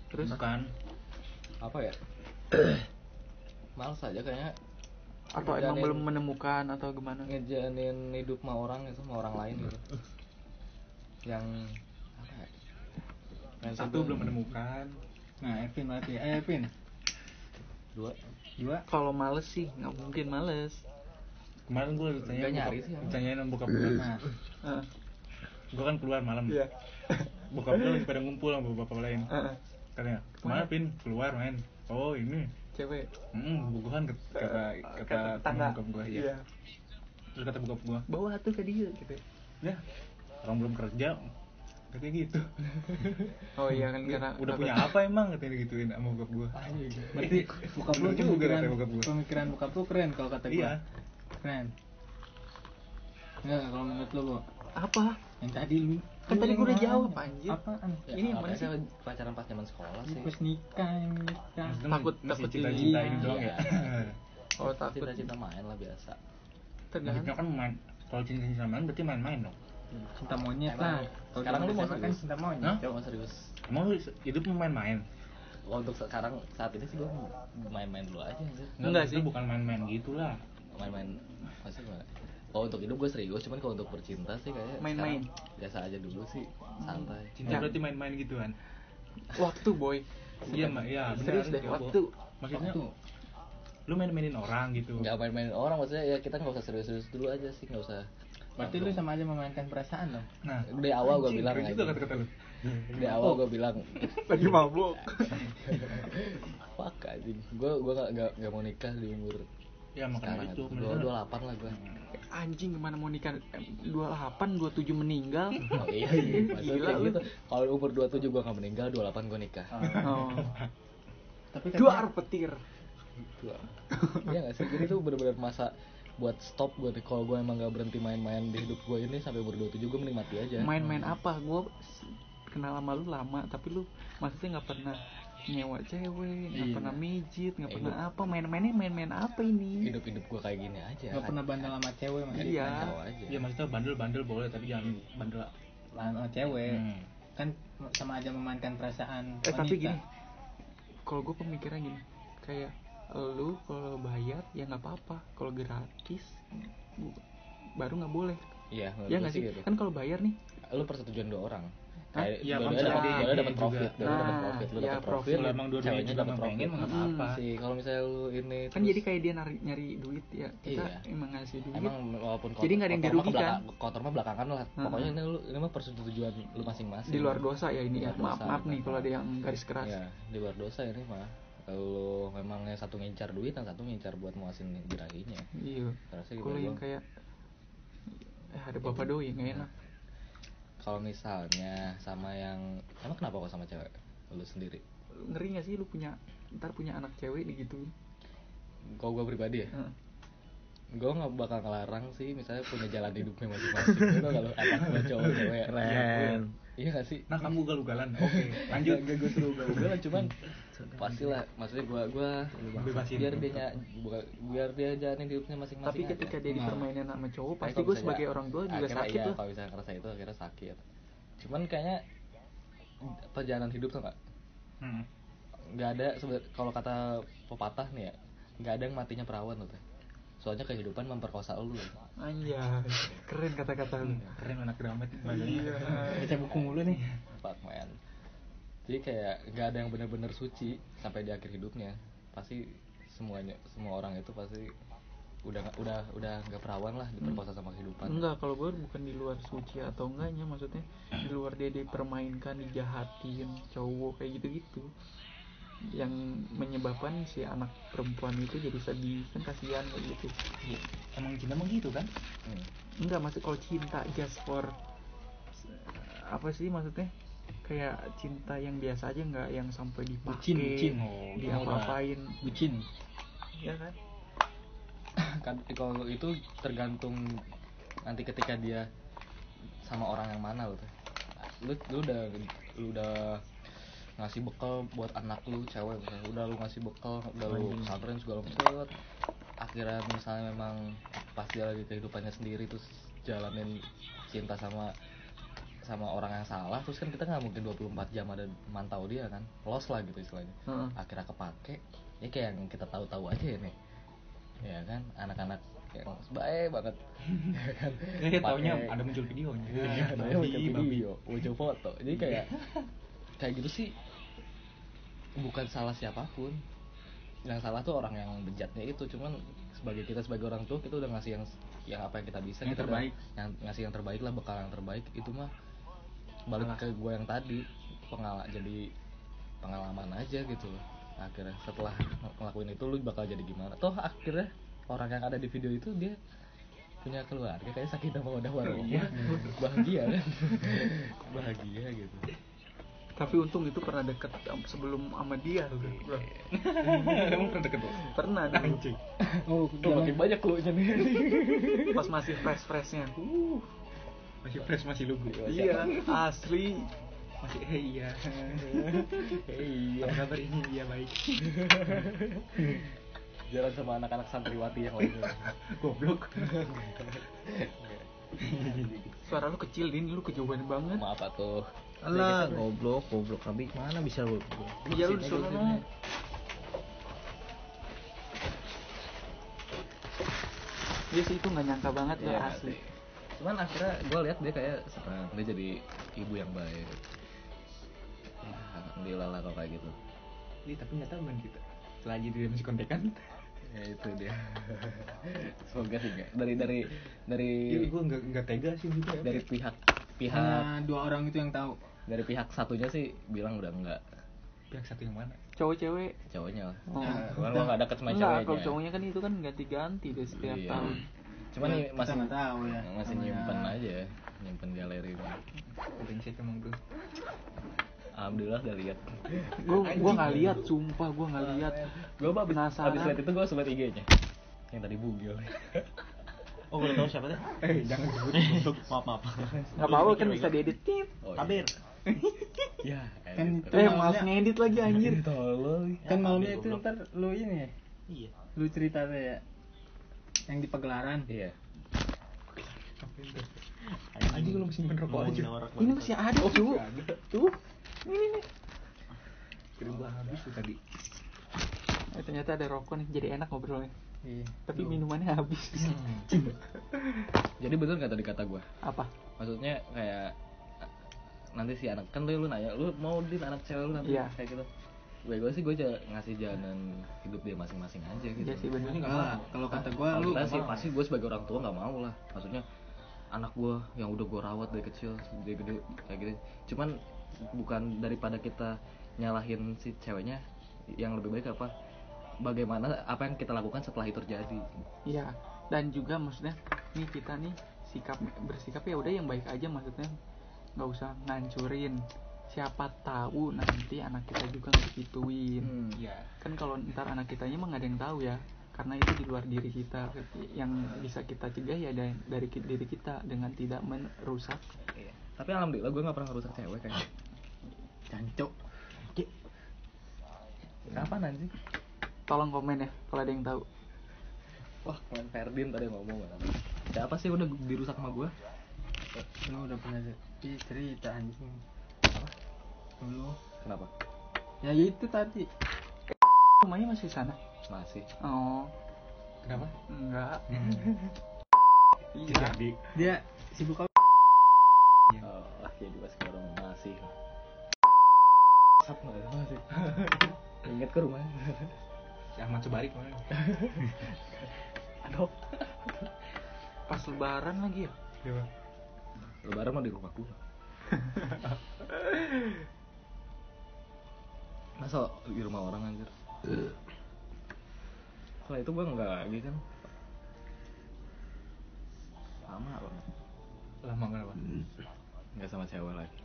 B: Terus
D: bukan
A: apa ya males aja kayaknya
B: atau emang
A: Ngejalanin-
B: belum menemukan atau gimana?
A: ngejalanin hidup sama orang itu sama orang lain gitu yang apa ya yang
D: satu
A: sebelum-
D: belum menemukan
E: Nah, Evin berarti. Eh, Evin.
A: dua
E: Dua.
B: Kalau males sih nggak mungkin males.
D: kemarin gue ditanya
A: Nggak nyari
D: bokap-
A: sih, apa?
D: ditanyain sama bokap gue
E: Nah,
B: Heeh.
D: gue kan keluar malam
B: Hmm. iya.
D: bokap gue lagi pada ngumpul sama bapak lain
B: Heeh.
D: katanya kemana pin keluar main oh ini
B: Cewek. Ah,
D: hmm bukuhan kata kata, kata teman bokap gue ya
B: Iya.
D: terus kata bokap gue
B: Bawa tuh ke dia gitu.
D: ya orang belum kerja katanya gitu
B: Oh iya kan karena
D: udah punya apa emang katanya gituin sama bokap gue
E: berarti bokap lu
D: Bener
E: tuh
D: juga
E: pemikiran,
D: kata bokap gua.
E: pemikiran bokap lu keren kalau kata gua.
D: Iya.
E: Keren. Enggak enggak, kalau menurut lu, Bu.
B: Apa?
E: Yang tadi lu
B: Kan tadi gua
E: Lu
B: udah
E: yang
B: jawab,
E: mana?
B: anjir.
E: Apaan?
A: Ya,
B: Ini yang mana
A: apalagi
B: sih?
A: pacaran pas zaman sekolah
E: Ini
A: sih
E: pas nikah yang nikah.
D: Maksudnya
B: Takut-
D: masih
B: takut
D: cinta-cinta
E: dilihat.
D: ini doang ya
B: Oh takut.
A: cita-cita main lah biasa
D: Maksudnya
B: Tergantung.
D: kan main kalau cinta-cinta main berarti main-main dong
E: Cinta monyet
A: Emang,
E: lah. Kalau
A: sekarang
E: zaman
A: lu mau
E: SMA kan
A: serius?
E: cinta monyet.
D: Hah?
A: Coba serius
D: emang lu hidup mau main-main
A: Kalau untuk sekarang saat ini sih gua main-main dulu aja anjir.
B: Enggak
D: maksudnya
B: sih.
D: bukan main-main gitulah
A: main-main masih gimana kalau untuk hidup gue serius cuman kalau untuk bercinta sih kayak
B: Main-main.
A: sekarang biasa aja dulu sih santai
D: cinta berarti main-main gituan
B: Waktu boy.
D: iya mak iya beneran,
B: Serius deh
D: Bobo.
B: waktu.
D: maksudnya lu main-mainin orang gitu
A: nggak main-mainin orang maksudnya ya kita nggak usah serius-serius dulu aja sih nggak usah
E: Berarti lu sama aja memainkan perasaan dong.
D: nah
A: dari awal gue bilang
D: keren
A: aja.
D: juga kata-kata lu
A: dari awal gue bilang
B: Lagi mabuk.
A: fuck anjing gue gue nggak nggak- nggak mau nikah di umur
F: ya makanya itu
A: dua dua delapan lah gue
B: anjing gimana mau nikah Eh, 28 27 meninggal
A: oh iya iya
B: Gila
A: maksudnya
B: lu.
A: gitu kalau umur dua tujuh gue nggak meninggal dua delapan gue nikah
B: oh.
F: tapi
B: duar
F: katanya
B: petir
A: Dua. iya nggak sih jadi tuh bener-bener masa buat stop gue kalau gue emang nggak berhenti main-main di hidup gue ini sampai umur dua tujuh gue mending mati aja
B: main-main apa gue kenal sama lu lama tapi lu maksudnya nggak pernah nyewa cewek nggak
E: Iya.
B: pernah mijit nggak
A: Eh,
B: pernah
A: lu-
B: apa main-mainnya main-main apa ini
A: hidup hidup gue kayak gini aja
E: nggak pernah bandel sama cewek makanya
B: Iya.
A: Kacau aja
F: ya maksudnya bandel bandel boleh tapi jangan bandel
E: sama eh, cewek
A: Iya,
F: Hmm.
E: kan sama aja memanfaatkan perasaan
B: eh tapi
E: wanita.
B: gini kalau gue pemikiran gini kayak lu kalau bayar ya nggak apa-apa kalau gratis bu- baru nggak boleh
A: iya menurut gue
B: ya nggak
A: sih
B: sih
A: gitu
B: kan kalau bayar nih
A: lu persetujuan dua orang
B: Hah?
A: kayak
F: Iya,
A: dua-duanya
F: konsep
A: dapat-
F: dia-
A: dua-duanya
F: dia
A: dapat
F: juga.
A: profit dua-duanya dapat
B: Nah,
A: profit lu
B: iya,
A: dapat
B: profit.
A: profit
F: Kalau emang dua-duanya
A: ceweknya
F: juga
A: dapat
F: emang
A: profit
F: pengen, mah nggak
A: Hmm,
B: apa-apa.
A: sih kalau misalnya lu ini
B: kan jadi kayak dia nyari nyari duit ya kita
A: Iya.
B: emang ngasih duit
A: Emang walaupun
B: Jadi nggak ada yang
A: kotor mah
B: dirugikan.
A: kebelaka- kotor mah belakangan lah.
B: Heeh.
A: Pokoknya ini lu ini mah persetujuan lu masing-masing.
B: di luar dosa ya
A: Di
B: ini ya
A: luar
B: maaf
A: dosa,
B: maaf nih
A: benar.
B: kalau ada yang garis keras
A: Iya, di luar dosa ini mah. Kalau memang yang satu ngincar duit, yang satu ngincar buat muasin birahinya.
B: iya
A: Terasa gitu
B: kalau yang
A: doang.
B: kayak eh ada bapak doi nggak enak
A: Kalau misalnya sama yang emang kenapa kok sama cewek? Lu sendiri.
B: ngeri nggak sih lu punya ntar punya anak cewek digituin
A: Kalau gua pribadi ya,
B: Heeh.
A: gua nggak bakal ngelarang sih misalnya punya jalan hidupnya masing-masing. Itu kalau anak gua cowok cewek.
F: keren
A: Iya gak sih?
F: nah kamu ugal-ugalan oke lanjut
A: Gak gue suruh ugal cuman pastilah maksudnya gua gua
F: Bebasin.
A: biar dia nya- buka- biar dia jalanin hidupnya masing-masing
B: tapi
A: aja.
B: ketika
E: Nah.
B: dia dipermainin sama cowok
A: Kayak kalau
B: pasti gue
A: misalnya-
B: sebagai orang tua juga
A: akhirnya
B: sakit
A: iya,
B: lah
A: kalau misalnya ngerasa itu akhirnya sakit cuman kayaknya perjalanan hidup tuh nggak
F: Hmm.
A: nggak ada sebe- kalau kata pepatah nih ya nggak ada yang matinya perawan tuh Teh. soalnya kehidupan memperkosa lu
B: anjay keren kata-kata lu
F: keren anak dramat
B: iya
F: badannya
E: baca buku mulu nih
A: Fuck, man. jadi kayak nggak ada yang benar-benar suci sampai di akhir hidupnya pasti semuanya semua orang itu pasti udah nggak- udah udah nggak perawan lah diperkosa sama kehidupan
B: enggak kalau gue bukan di luar suci atau enggaknya maksudnya di luar dia dipermainkan dijahatin cowok kayak gitu-gitu yang menyebabkan si anak perempuan itu jadi sedih kan kasihan kayak gitu
D: Iya.
F: emang cinta emang gitu kan
A: Hmm.
B: enggak maksud kalau cinta just for eh, apa sih maksudnya kayak cinta yang biasa aja nggak yang sampai dipakai
F: Bucin, bucin. Oh,
B: diapa-apain
F: bucin
B: ya kan
A: kan kalau itu tergantung nanti ketika dia sama orang yang mana lo tuh lu lu udah lu udah ngasih bekal buat anak lu cewek misalnya udah lu ngasih bekal udah lu pesantren segala macam akhirnya misalnya memang pas dia lagi kehidupannya sendiri terus jalanin cinta sama sama orang yang salah terus kan kita nggak mungkin 24 jam ada mantau dia kan los lah gitu istilahnya
B: Heeh.
A: akhirnya kepake ya kayak yang kita tahu-tahu aja ya nih ya kan anak-anak yang baik banget ya kan
F: ya
D: Eh,
F: taunya
A: Pakai-
F: ada muncul videonya
A: Iya, taunya
F: Babi,
A: wujud
F: babi.
A: video wujud foto jadi kayak kayak gitu sih bukan salah siapapun yang salah tuh orang yang bejatnya itu cuman sebagai kita sebagai orang tua kita udah ngasih yang yang apa yang kita bisa
E: Yang
A: kita udah-
E: terbaik.
A: yang ngasih yang terbaik lah bekal yang terbaik itu mah balik ke gue yang tadi pengala jadi pengalaman aja gitu loh. akhirnya setelah ngelakuin itu lu bakal jadi gimana toh akhirnya orang yang ada di video itu dia punya keluarga kayak sakit sama udah
E: Iya.
A: warungnya bahagia kan bahagia gitu
B: tapi untung itu pernah deket am- sebelum sama dia bro.
F: emang pernah deket lu?
B: pernah dulu.
E: oh
A: Tuh makin banyak clue-nya nih
B: pas masih fresh freshnya
F: masih fresh masih lugu
B: iya asli
F: masih eh, iya
A: iya
F: apa kabar ini iya baik
A: jalan sama anak-anak santriwati ya, yang lainnya
F: goblok
B: suara lu kecil din lu kejauhan banget
A: maaf atuh
F: Alah,
A: goblok goblok tapi
F: mana bisa lu
B: iya lu disuruh Iya sih itu nggak nyangka banget ya,
A: Iya,
B: asli.
A: cuman akhirnya gue lihat dia kayak senang dia jadi ibu yang baik Ya, alhamdulillah lah kalau kayak gitu
F: ini tapi nggak tahu kan kita selagi dia masih kontekan
A: ya itu dia semoga sih nggak- dari dari dari
F: Iya, gue nggak nggak tega sih gitu ya.
A: dari pihak
E: hanya
A: pihak
E: dua orang itu yang tahu
A: dari pihak satunya sih bilang udah enggak
F: pihak satu yang mana
B: cowok cewek
A: cowoknya lah
B: Oh.
A: cuman gua nggak deket Nah, sama
B: Enggak,
A: ceweknya
B: kalau cowoknya kan itu kan ganti-ganti deh setiap
A: Iya.
B: tahun.
A: cuman nih masih
E: nggak tahu ya
A: masih
E: namanya.
A: nyimpen aja nyimpen galeri gua.
D: Brengsek emang bro.
A: alhamdulillah udah lihat
B: Gua gua nggak lihat, sumpah gua nggak lihat.
A: gua abis,
B: Penasaran.
A: abis lihat itu gua sobat IG-nya yang tadi bugil
H: Oh, gue udah tahu siapa deh.
A: eh jangan
H: Untuk maaf maaf.
B: Enggak apa-apa kan bisa diedit. Tip.
A: oh,
H: Tabir.
A: iya. ya
E: Kan
A: edit.
E: itu
B: Eh,
E: malamnya-
B: maaf ngedit lagi anjir.
A: Ini tolol
E: kan malamnya itu ntar lu ini ya
H: Iya.
E: lu cerita tuh ya yang di pegelaran
A: iya
H: Anjing lu masih nyimpen rokok aja.
B: Ini masih ada, cu. Tuh. Ini nih.
D: Kirim gua habis tuh tadi.
B: Eh, ternyata ada rokok nih, jadi enak ngobrolnya.
E: iya
B: Tapi minumannya habis.
A: jadi betul nggak tadi kata gua
B: Apa?
A: maksudnya kayak a- nanti si anak kan tuh lu nanya lu mau din anak cewek lu nanti
B: Iya.
A: kayak gitu gue gue sih gue ngasih jalanan hidup dia masing-masing aja gitu
B: Iya sih benar.
E: Enggak lah, kalau kata gua
A: Kalau
E: lu
A: kita sih pasti gue sebagai orang tua nggak mau lah maksudnya anak gue yang udah gue rawat dari kecil dari gede kayak gitu cuman bukan daripada kita nyalahin si ceweknya yang lebih baik apa bagaimana apa yang kita lakukan setelah itu terjadi
B: Iya, dan juga maksudnya nih kita nih sikap bersikap ya udah yang baik aja maksudnya nggak usah ngancurin siapa tahu nanti anak kita juga nggak gituin
A: Hmm.
E: Hmm.
D: Iya.
B: kan kalau ntar anak kitanya mah nggak ada yang tahu ya karena itu di luar diri kita yang bisa kita cegah ya dari, dari ki- diri kita dengan tidak merusak
A: tapi alhamdulillah gue nggak pernah ngerusak cewek gitu. kayaknya
E: cancok
A: kapan anjing
B: tolong komen ya kalau ada yang tahu
A: wah kalian Ferdin tadi yang ngomong kan siapa sih udah dirusak sama gue
E: lu udah pernah tapi cerita anjing dulu
A: kenapa
E: ya itu tadi
B: rumahnya masih di sana
A: masih
B: oh
E: kenapa
B: enggak iya
E: dia sibuk apa
A: Oh, lah ya juga sekarang masih Sap nggak ya? masih Ingat ke rumah
D: Si Ahmad Subari kemarin.
A: Aduh
B: pas lebaran lagi ya
F: Iya,
A: Lebaran mah di rumah gua Masa di rumah orang anjir Setelah itu gua nggak lagi kan Lama banget
D: Lama kenapa?
A: Nggak sama cewek lagi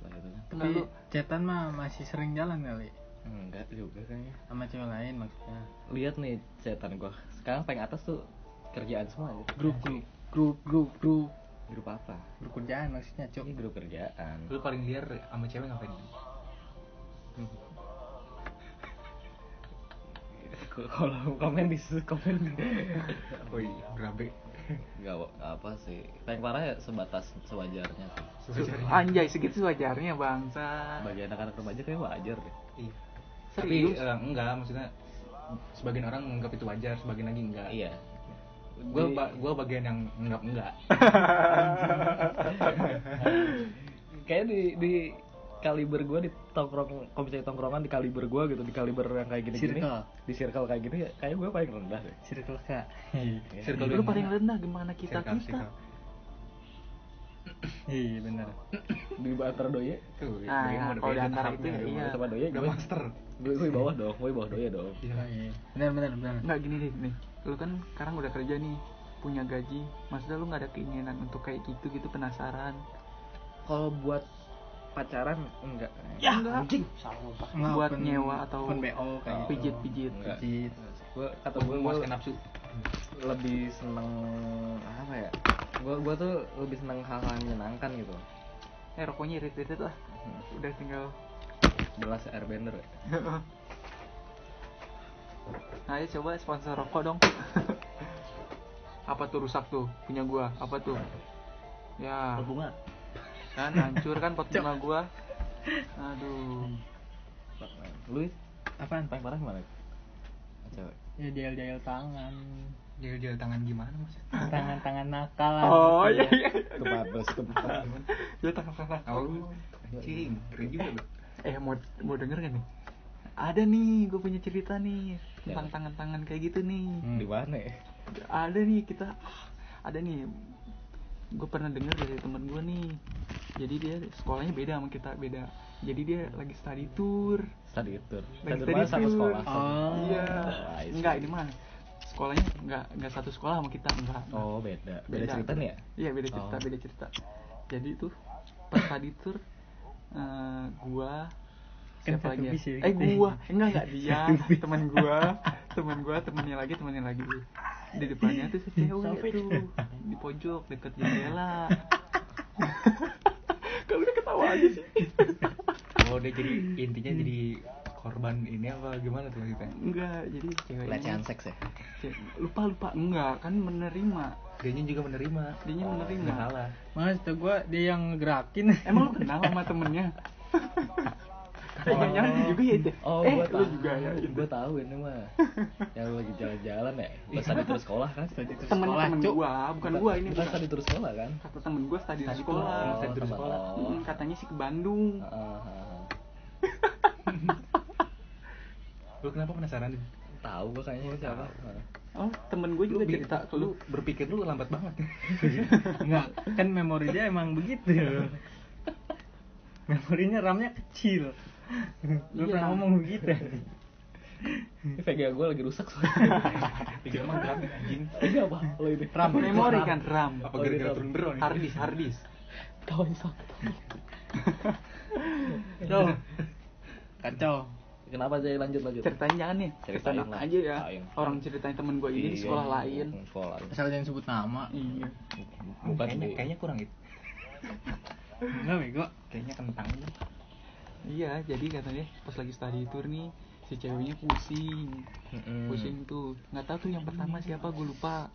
A: Setelah itu kan
B: Enggak,
E: tapi
B: lu-
E: cetan mah masih sering jalan kali
A: Enggak juga kayaknya
E: sama cewek lain maksudnya
A: Lihat nih setan gua Sekarang paling atas tuh kerjaan semua anjir
E: grup grup grup grup grup
A: Grup apa?
E: grup kerjaan maksudnya cok
A: Ini grup kerjaan.
D: Lu paling liar sama cewek ngapain?
A: Kalau komen di komen
D: Woi, berabe.
A: nggak wa- apa sih. Paling parah ya sebatas sewajarnya sih.
B: anjay segitu wajarnya bangsa
A: Bagi anak-anak remaja kayak wajar deh.
D: Iya. Tapi
B: serius
D: eh, enggak, maksudnya sebagian orang menganggap itu wajar, sebagian lagi enggak.
A: Iya.
D: Gua
B: Iya.
D: ba- gua bagian yang enggak enggak.
A: Kayak di di kaliber gua di tongkrong kalau misalnya tongkrongan di kaliber gua gitu di kaliber yang kayak gini-gini
E: Circle.
A: di circle kayak gini ya, kayak gua paling rendah deh.
E: circle kak
D: Circle
B: Iya. lu
D: yang
B: paling
D: mana?
B: rendah gimana kita
D: Circle,
B: kita
D: circle.
E: iya bener
A: Di antara doye
D: Tuh,
B: Nah,
D: bagaimana beda
B: kalau di antara itu
D: tahapnya,
B: ya,
D: bagaimana?
B: iya.
A: sama doye
D: Udah
A: gua-
D: master.
A: Gue gue bawah dong, gue bawah doya dong.
D: Iya.
E: iya bener bener bener
B: nggak gini deh nih lu kan sekarang udah kerja nih punya gaji maksudnya lu nggak ada keinginan untuk kayak gitu gitu penasaran
A: Kalau buat pacaran enggak.
B: ya anjing
E: Nggak,
B: buat
E: open-
B: nyewa atau
E: open BO kayak gitu.
B: pijit pijit
A: Enggak.
E: Pijit.
A: Gue kata gue
B: Iya.
D: Memuaskan nafsu.
A: lebih seneng apa ya? Gue gue tuh lebih seneng hal-hal yang menyenangkan gitu.
B: eh rokoknya irit irit lah udah tinggal
A: Belas airbender. ya.
B: nah, ayo coba sponsor rokok dong apa tuh rusak tuh punya gua apa tuh ya
H: Bunga.
B: kan hancur kan pot bunga gua aduh
A: Lu
E: apaan
A: paling parah gimana? Cewek.
E: ya jail jail tangan
D: Jil-jil tangan gimana maksudnya?
E: tangan tangan nakal
B: oh iya iya
A: Kebablas kebablas.
B: ya tangan tangan
D: Oh, anjing, keren juga lu.
B: Eh mau mau denger gak nih? Ada nih, gue punya cerita nih tentang tangan-tangan kayak gitu nih.
A: Di mana? ya?
B: Ada nih kita, ah, ada nih. Gue pernah denger dari temen gue nih. Jadi dia sekolahnya beda sama kita, beda jadi dia lagi study tour
A: Study tour.
B: lagi
A: Study tour sama sekolah.
B: Oh. Iya.
A: Wah, itu.
B: Enggak, ini mah sekolahnya enggak enggak satu sekolah sama kita, enggak.
A: Oh beda. Beda cerita nih ya.
B: Iya, beda cerita,
A: Oh.
B: beda cerita. Jadi tuh pas tadi tour eh, gua
F: Kan
B: siapa
F: satu
B: lagi? ya?
F: bis ya,
B: eh
F: gitu.
B: gua, enggak enggak dia, teman gua, teman gua, temannya lagi, temannya lagi. Di depannya tuh si cewek
F: Sampai.
B: tuh di pojok deket jendela. Kalau udah ketawa aja sih.
D: oh dia jadi
B: Hmm.
D: intinya jadi korban ini apa gimana tuh maksudnya
B: Enggak, jadi ceweknya
C: pelecehan seks ya
B: Ce- lupa lupa enggak kan menerima
D: dianya juga menerima
B: dianya menerima
D: nggak salah
F: Mas, tuh gua dia yang gerakin.
B: emang lu kenal sama temennya Jangan-jangan lu juga ya itu
A: Oh,
B: eh
A: gua
B: lu
A: tahu.
B: juga ya gitu
A: Gua tahu ini mah. Yang lu lagi jalan-jalan ya. Bukan study tour sekolah kan? Study tour
B: temen temen
A: Cuk.
B: gua bukan gua ini
A: bukan
B: bukan
A: study tour sekolah kan?
B: kata temen gua tadi di
A: Oh,
B: sekolah
A: study tour sekolah. Ah.
B: Mm, katanya sih ke Bandung
A: Heeh, heeh.
D: lu kenapa penasaran Din?
A: Tahu gua kayaknya siapa.
B: oh temen gua juga
D: bikin-
B: cerita ke lu
D: berpikir lu lambat banget
F: Enggak, kan memori dia emang
B: Iya.
F: begitu. Memorinya RAM-nya kecil. Lu
B: Iya.
F: pernah ngomong begitu.
A: Ini VGA gua lagi rusak soalnya.
D: tiga emang berarti anjing
A: Ini apa? Lo ini.
B: ram kan, memori kan ram
D: apa gara-gara turun drone ini?
B: hardis hardis
A: Kawan sak.
F: Tuh. Kacau.
A: Kenapa jadi lanjut lanjut?
B: ceritain jangan nih
A: Iya. Ceritain
B: ceritain
A: lah.
B: aja ya
A: Ceritain.
B: orang ceritain temen gua ini di
A: Iya,
B: sekolah lain
A: Sekolah.
F: Asal jangan sebut nama.
B: iya
A: Bukan
D: kayaknya
A: di-
D: kayaknya kurang itu
F: Enggak bego.
D: kayaknya kentang
B: Iya, jadi katanya pas lagi study tour nih si ceweknya pusing,
A: Hmm.
B: pusing tuh. Nggak tahu tuh yang pertama siapa, gue lupa.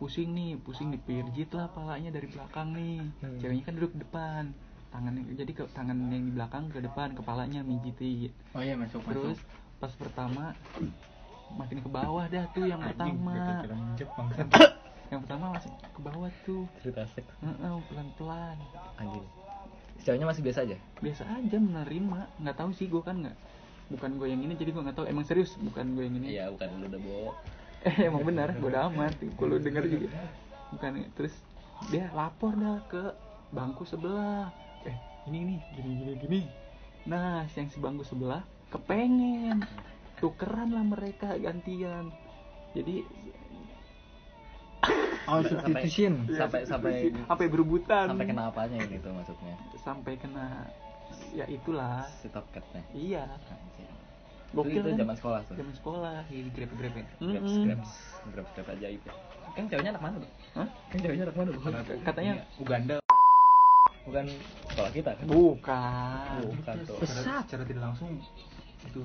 B: Pusing nih, pusing dipirjit lah palanya dari belakang nih.
A: Hmm.
B: Ceweknya kan duduk depan, tangan jadi ke tangan yang di belakang ke depan, kepalanya mijiti.
F: Oh iya masuk
B: Terus pas pertama makin ke bawah dah tuh yang pertama.
D: film Jepang
B: Yang pertama masih ke bawah tuh.
A: Cerita seks
B: Heeh, pelan-pelan.
A: anjing. Ceweknya masih biasa aja.
B: biasa aja menerima nggak tahu sih gue kan nggak bukan gue yang ini jadi gue nggak tahu emang serius bukan gue yang ini
A: Iya, bukan lu udah bawa.
B: eh emang benar gue udah amat kalau denger juga bukan ya, terus dia lapor dah ke bangku sebelah eh ini nih gini gini gini nah si yang si bangku sebelah kepengen tukeran lah mereka gantian jadi
F: Oh, substitution.
A: Iya, Sampai sampai
B: sampai berebutan
A: sampai kenapanya gitu maksudnya.
B: sampai kena ya itulah
A: Si top cat-nya.
B: iya
A: Anjing.
B: gokil
A: itu
B: kan?
A: zaman sekolah tuh. Iya,
B: zaman sekolah
D: di grepe grepe
A: ya. Grabs,
B: Mm-mm.
A: grabs, grabs, grabs ajaib ya. Kan ceweknya anak mana tuh?
B: Hah?
A: Kan ceweknya anak mana tuh?
B: Katanya
A: Iya.
D: Uganda
A: Bukan sekolah kita kan?
B: bukan.
A: Bukan tuh.
D: secara, secara tidak langsung itu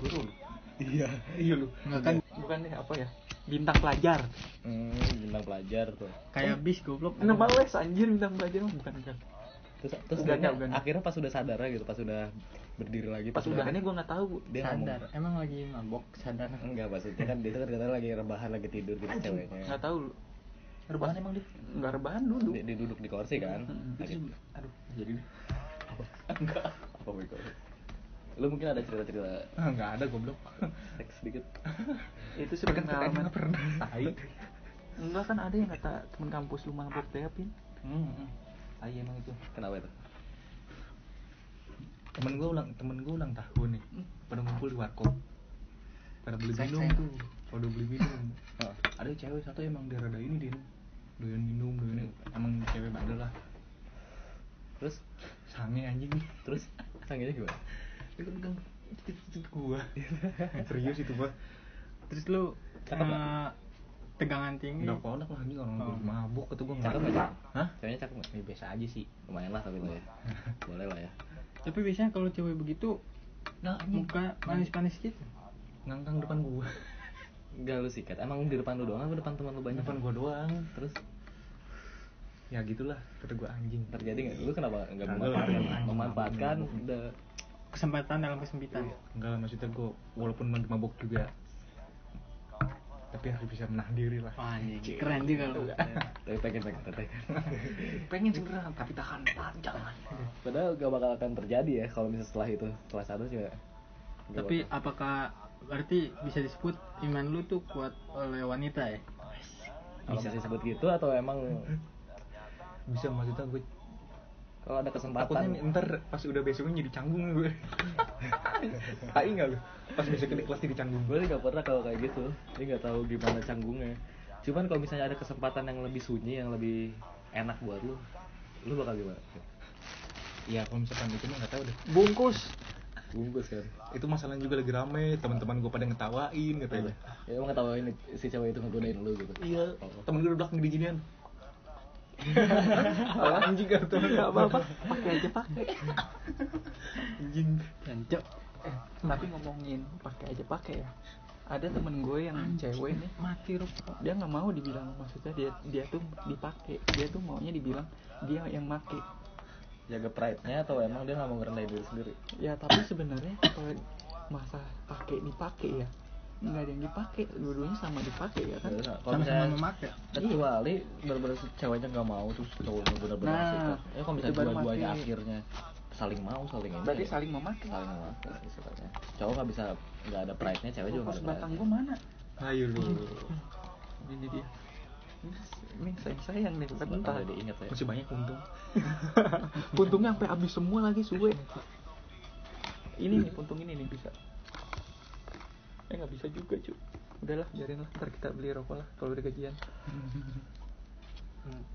D: guru lu
A: Iya.
D: iya lu
F: Enggak kan
B: Bukan deh apa ya? Bintang pelajar.
A: Hmm, bintang pelajar tuh.
F: kayak bis goblok.
B: Nama les anjir bintang pelajar mah bukan kan.
A: Terus terus
B: Uganda,
A: akhirnya,
B: Uganda.
A: akhirnya pas udah sadar gitu, pas udah berdiri
D: Iya,
A: lagi
B: Pas udahannya gua nggak tahu.
A: dia
F: sadar.
A: ngomong
F: Emang lagi mabok sadar.
A: enggak maksudnya kan dia tuh kan katanya lagi rebahan lagi tidur gitu ceweknya
B: Nggak tahu lu.
D: rebahan emang dia
B: Nggak rebahan dulu.
D: Iya.
A: dia, dia duduk di kursi kan lagi
D: aduh jadi deh.
A: apa bego lu mungkin ada cerita cerita
D: ah nggak ada goblok
A: seks dikit
B: Itu sih
D: kan kita
B: pengalaman.
D: nggak pernah tai
B: Enggak kan ada yang kata teman kampus lu mabok deh pin.
D: Hmm, tai emang itu
A: kenapa itu
D: temen gue ulang temen gue ulang tahun nih pada ngumpul di warkop pada beli
F: Sayang,
D: minum
F: sayang.
D: tuh pada beli minum
A: Heeh.
D: ada cewek satu emang dia rada ini din Iya. doyan minum doyan emang cewek bandel lah
A: terus
D: sange anjing
A: terus sanggihnya gimana
D: dia kan pegang titik-titik gua serius itu gua
F: Terus lu
A: Cakep nggak?
F: eh, tegangan tinggi.
D: udah kolak lah anjing orang
F: Oh.
D: gua mabuk kata gua
A: cakep nggak cakep
D: hah
A: ceweknya cakep nggak
D: ya, biasa aja sih
A: lumayan lah tapi lo ya boleh lah ya
F: Tapi biasanya kalau cewek begitu
D: nah anjing
F: muka manis-manis gitu.
D: ngangkang depan gua
A: Enggak lu sikat. Emang di depan lu doang apa depan teman lu banyak?
D: depan gua doang
A: Terus
D: ya gitulah kata gua anjing
A: terjadi nggak? Lu kenapa nggak
D: Kagak
A: memanfaatkan?
D: lah.
A: Memanfaatkan udah
F: Kesempatan dalam kesempitan.
D: enggak lah maksudnya gua walaupun mabuk mabuk juga tapi harus bisa menahan diri lah
F: Wah, anjing. keren juga lu.
A: tapi pengen pengen pengen.
D: pengen segera tapi tahan panjang
A: Padahal gak bakal akan terjadi ya kalau misalnya setelah itu setelah satu juga. nggak
F: Tapi
A: bakal.
F: apakah berarti bisa disebut iman lu tuh kuat oleh wanita ya?
A: bisa disebut gitu atau emang
D: bisa maksudnya gue
A: kalau ada kesempatan
D: Takutnya ntar pas udah besoknya jadi canggung gue. Tai nggak lu? Pas besoknya di kelas jadi canggung.
A: gue nggak pernah kalau kayak gitu dia nggak tahu gimana canggungnya cuman kalau misalnya ada kesempatan yang lebih sunyi yang lebih enak buat lu lu bakal gimana
D: Iya, kalau misalkan itu mah nggak tahu deh.
A: bungkus bungkus kan
D: Itu masalahnya juga lagi rame, teman-teman gue pada ngetawain katanya.
A: ya emang ketawain si cewek itu ngegodain lu gitu
D: Iya, temen gue di belakang gede ginian. Alah, anjing gak temen gak apa-apa
E: pakai aja pakai
D: Anjing
B: Tancap. Eh, tapi ngomongin pakai aja pakai ya. Ada temen gue yang cewek nih mati rokok. Dia nggak mau dibilang maksudnya dia dia tuh dipakai. Dia tuh maunya dibilang dia yang make.
A: jaga pride nya atau emang dia nggak mau ngerendahin diri sendiri
B: Ya tapi sebenarnya kalau masa pakai dipakai ya nggak ada yang dipakai dua-duanya sama dipakai ya kan
A: Nah, kalau
E: sama-sama
A: misalnya
E: memakai
A: kecuali bener-bener si ceweknya nggak mau terus cowoknya bener-bener
B: Nah,
A: suka ya kalau
B: itu
A: misalnya
B: baru
A: dua-duanya
B: mati.
A: akhirnya saling mau saling ini
B: berarti
A: ya.
B: saling memakai
A: saling mau sifatnya cowok nggak bisa nggak ada pride nya cewek juga
B: Pas
A: nggak ada
B: batang
A: pride
B: gue mana
D: Ayo lu
B: ini dia ini sayang sayang nih
A: Batang
B: bentar
A: jadi inget ya
D: Masih banyak untung
B: Puntungnya sampai habis semua lagi suwe. Ini nih puntung ini nih bisa. Eh nggak bisa juga cuy. Udahlah biarin lah ntar kita beli rokok lah kalau udah gajian.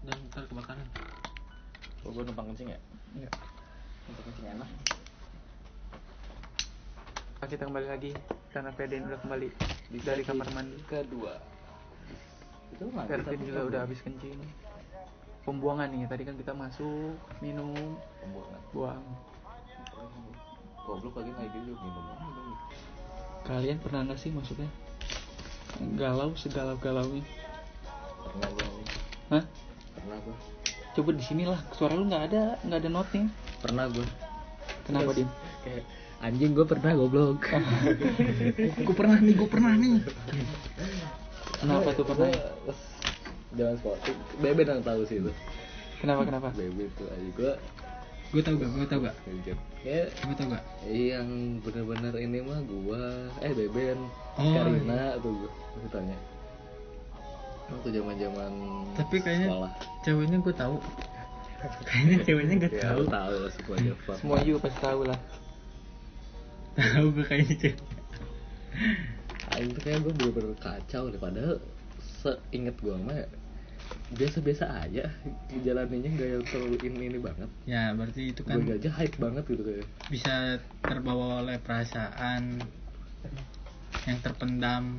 E: dan ntar kebakaran
A: oh, gue numpang kencing ya
B: Iya.
E: untuk kencing enak
B: Nah, kita kembali lagi karena Ferdin udah kembali dari kamar mandi.
I: kedua
A: itu nggak
B: Ferdin juga udah habis kencing. Pembuangan nih tadi kan kita masuk minum
A: pembuangan
B: buang.
A: goblok lagi kayak gitu minum
B: Kalian pernah nggak sih maksudnya galau segalau galaunya?
A: pernah gue
B: Hah?
A: pernah gue
B: Coba di sinilah suara lu nggak ada nggak ada notnya.
A: pernah gue
B: Kenapa Dim?
A: kayak anjing gue pernah goblok
D: Eh,
B: gue pernah nih, gue pernah nih. Kenapa tuh pernah?
A: Gua- Jangan sporting beben yang tahu sih itu
B: Kenapa kenapa?
A: beben tuh aja gue
E: gue tau gak gue tau gak
A: kayak
E: gue tau gak
A: Ya, yang bener-bener ini mah gua eh beben
E: Oh,
A: Karina tuh gua aku tanya waktu zaman zaman
E: tapi kayaknya
A: sekolah
E: ceweknya gue tahu kayaknya ceweknya gak
A: ya
E: tahu
A: lu tahu lah sebuah Jepang
B: Semua you pasti tahu lah.
E: tahu gue kayaknya cewek
A: Ah, itu kayak gua bener-bener kacau deh padahal seinget gua mah biasa-biasa aja jalaninnya gak yang terlalu ini ini banget
E: ya berarti itu
A: gue
E: kan
A: aja hype banget gitu kayak
E: bisa terbawa oleh perasaan yang terpendam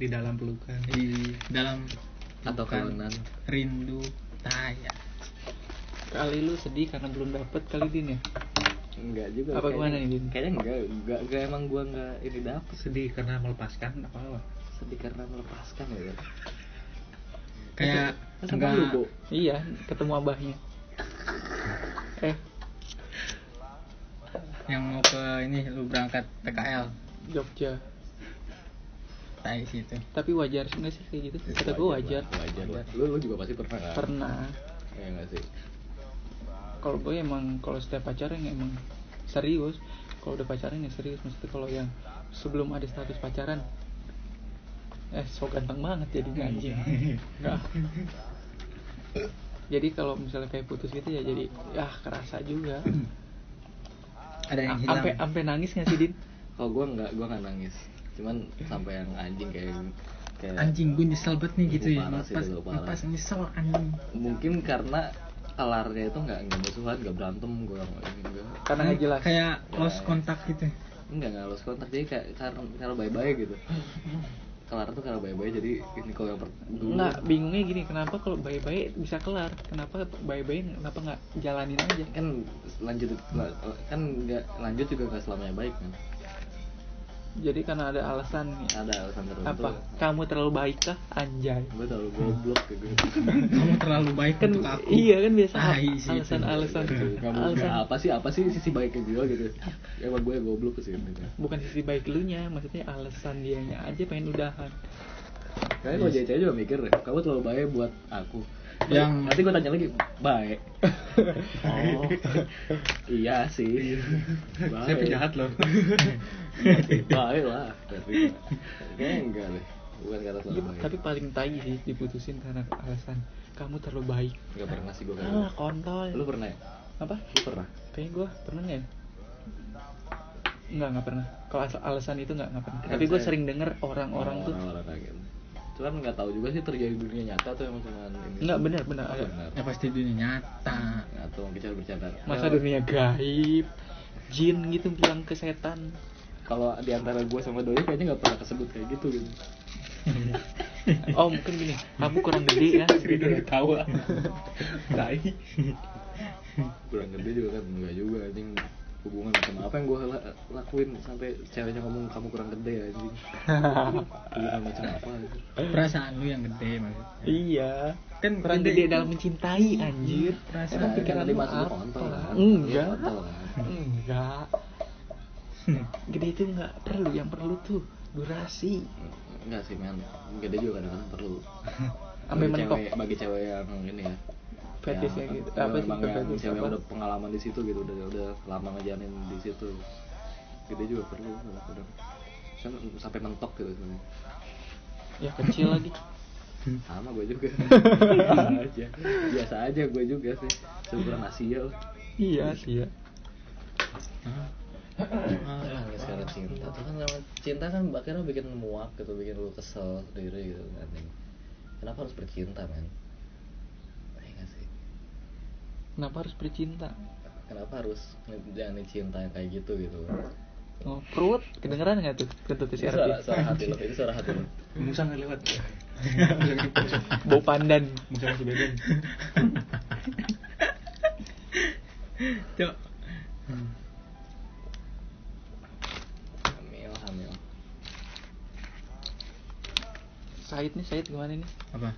D: Di dalam pelukan
E: di dalam
A: atau
E: bukan,
A: kawanan
E: rindu taya
B: Kali lu sedih karena belum dapet kali Din ya?
A: enggak juga
B: Apa
A: kayaknya-
B: gimana nih, Din?
A: kayaknya enggak enggak enggak emang gua enggak ini dapet
D: Sedih karena melepaskan apa apa
A: sedih karena melepaskan ya kan
E: kayak
A: Masa
E: enggak
A: malu, Bu?
B: Iya, ketemu abahnya. Eh,
E: yang mau ke ini lu berangkat PKL
B: Jogja.
E: tai situ
B: Tapi wajar sih nggak sih kayak gitu?
E: Iya,
B: Kata gue wajar.
A: lah, wajar lah. Lu, lu juga pasti pernah kan?
B: Pernah.
A: Iya nggak sih?
B: Kalau gue emang kalau setiap pacaran ya emang serius. Kalau udah pacaran ya serius. Mesti kalau yang sebelum ada status pacaran. Eh, so ganteng banget jadinya anjing. Nggak. jadi kalau misalnya kayak putus gitu ya jadi ya kerasa juga Ah,
E: ada yang hilang
B: sampai sampai nangis nggak sih din
A: Kalau gua nggak, gua nggak nangis. Cuman sampai yang anjing kayak kayak
E: anjing gue nyesel banget nih gitu
A: Gua
E: ya
A: parah sih,
E: pas
A: gua parah.
E: pas nyesel anjing
A: mungkin karena kelarnya itu nggak nggak musuhan, nggak berantem, gua nggak ini enggak gitu.
B: karena nggak jelas
E: kayak lost kontak gitu
A: enggak nggak lost kontak jadi kayak karena kalau bye bye gitu. Kelar tuh kalau bye bye jadi ini kalau yang per dulu
B: nggak bingungnya gini kenapa kalau baik-baik bisa kelar kenapa baik-baik kenapa nggak jalanin aja
A: kan lanjut kan nggak lanjut juga nggak selamanya baik kan
B: jadi karena ada alasan nih
A: ada alasan tertentu
B: apa kamu terlalu baik kah anjay
A: gue terlalu goblok gitu
E: kamu terlalu baik
B: kan
E: untuk aku
B: iya kan biasa
E: Tai sih itu.
B: alasan alasan
A: kamu
B: alasan
A: apa sih apa sih sisi baiknya gue gitu emang gue goblok sih gitu.
B: bukan sisi baik lu nya maksudnya alasan dianya aja pengen udahan
A: Kayaknya
B: Iya.
A: kalau jadi cewek juga mikir deh, kamu terlalu baik buat aku.
E: Yang-
A: nanti gue tanya lagi, baik. oh. iya sih. Baik.
D: Saya penjahat loh
A: baik lah. Tapi kayaknya enggak deh. bukan karena
B: Iya,
A: terlalu baik
B: tapi paling tai sih diputusin karena alasan kamu terlalu baik.
A: nggak pernah sih gue kayak
B: Alah kontol.
A: gitu. lu pernah ya
B: apa?
A: lu pernah
B: Kayaknya gue pernah nggak ya? Enggak, enggak pernah. Kalau as- alasan itu enggak, enggak pernah.
A: Kan
B: Tapi gue
A: saya-
B: sering denger orang-orang tuh
E: Oh.
A: orang kayak gitu cuman nggak tahu juga sih terjadi di dunia nyata atau emang cuman ini
B: Nggak, benar, benar,
A: Oh,
B: ada.
A: benar.
E: ya pasti dunia nyata
A: atau mungkin cara bercanda
B: masa
A: Kalau-
B: dunia gaib, jin gitu bilang ke setan.
A: kalau di antara gue sama Doi kayaknya nggak pernah kesebut kayak gitu gitu
B: Oh, mungkin gini, kamu kurang gede ya. gitu ya.
F: ketawa tai
A: kurang gede juga kan enggak juga anjing hubungan sama apa yang gue lakuin sampai ceweknya ngomong kamu kurang gede anjing hubungan macam apa gitu.
E: perasaan lu yang gede mas
B: iya.
E: kan
B: Kurang gede dalam mencintai anjir.
E: Perasaan
B: Emang
A: Nah,
B: pikiran
A: kan tadi
B: lu
A: maksud lu
B: apa?
A: kontol kan?
B: Enggak.
A: Kontol kan?
B: Enggak. Gede itu enggak perlu, yang perlu tuh durasi.
A: enggak sih men gede juga kadang-kadang perlu
B: Ambil
A: Bagi
B: mentok.
A: cewek- bagi cewek yang ini ya
B: Fetish ya
A: yang-
B: gitu.
A: yang
B: Apa sih
A: memang yang
B: fetish
A: cewek
B: apa?
A: udah pengalaman di situ gitu udah udah lama ngejanin di situ gede juga perlu kadang-kadang Kan sampai mentok gitu sebenarnya
B: Ya kecil lagi.
A: sama gue juga biasa aja biasa aja gue juga sih sebulan Asia lah
B: Iya sih ya.
D: Nah,
A: Ah, nangis karena cinta tuh kan sama cinta kan akhirnya bikin muak gitu bikin lu kesel sendiri gitu kan kenapa harus bercinta men Iya nggak sih
B: Kenapa harus bercinta?
A: kenapa harus jalanin cinta yang kayak gitu gitu
B: Oh, perut kedengeran nggak tuh kentut
A: Ini
B: si
A: suara,
B: Ardi?
A: suara hati lo ini suara hati lo
D: Musa nggak lewat.
B: Bau pandan.
D: Musa masih beben.
E: cok
A: hamil hamil
B: Said nih, Said gimana nih?
E: apa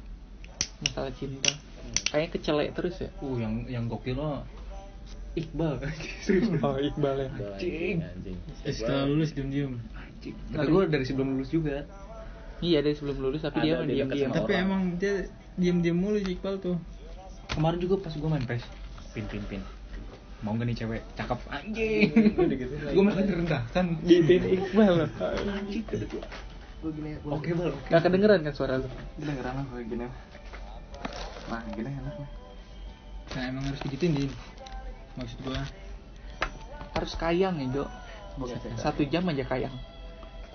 B: Masalah cinta. Kayaknya kecelek terus ya.
D: Uh, yang yang gokil lo Iqbal. Serius.
B: Oh, Iqbal ya.
A: Udah lagi, anjing
E: Eh, setelah lulus diem diem
D: Kata gue dari sebelum lulus juga.
B: Iya, dari sebelum lulus tapi dia
A: Ada di
B: diam
A: dekat
B: diam.
A: sama
E: tapi
A: orang.
E: emang dia diem diem mulu sih Iqbal tuh
D: Kemarin juga pas gue main pes. Pin pin pin. Mau gak nih cewek cakep anjing.
A: gitu
D: gue merasa direndahkan.
B: Gituin Iqbal. loh.
D: Oke bal. oke.
B: Nggak kedengeran kan suara lu?
F: kedengeran lah kayak gini nah gini enak lah
E: nah emang harus digituin din maksud gua
B: Harus kayang ya, Dok. Satu jam aja kayang.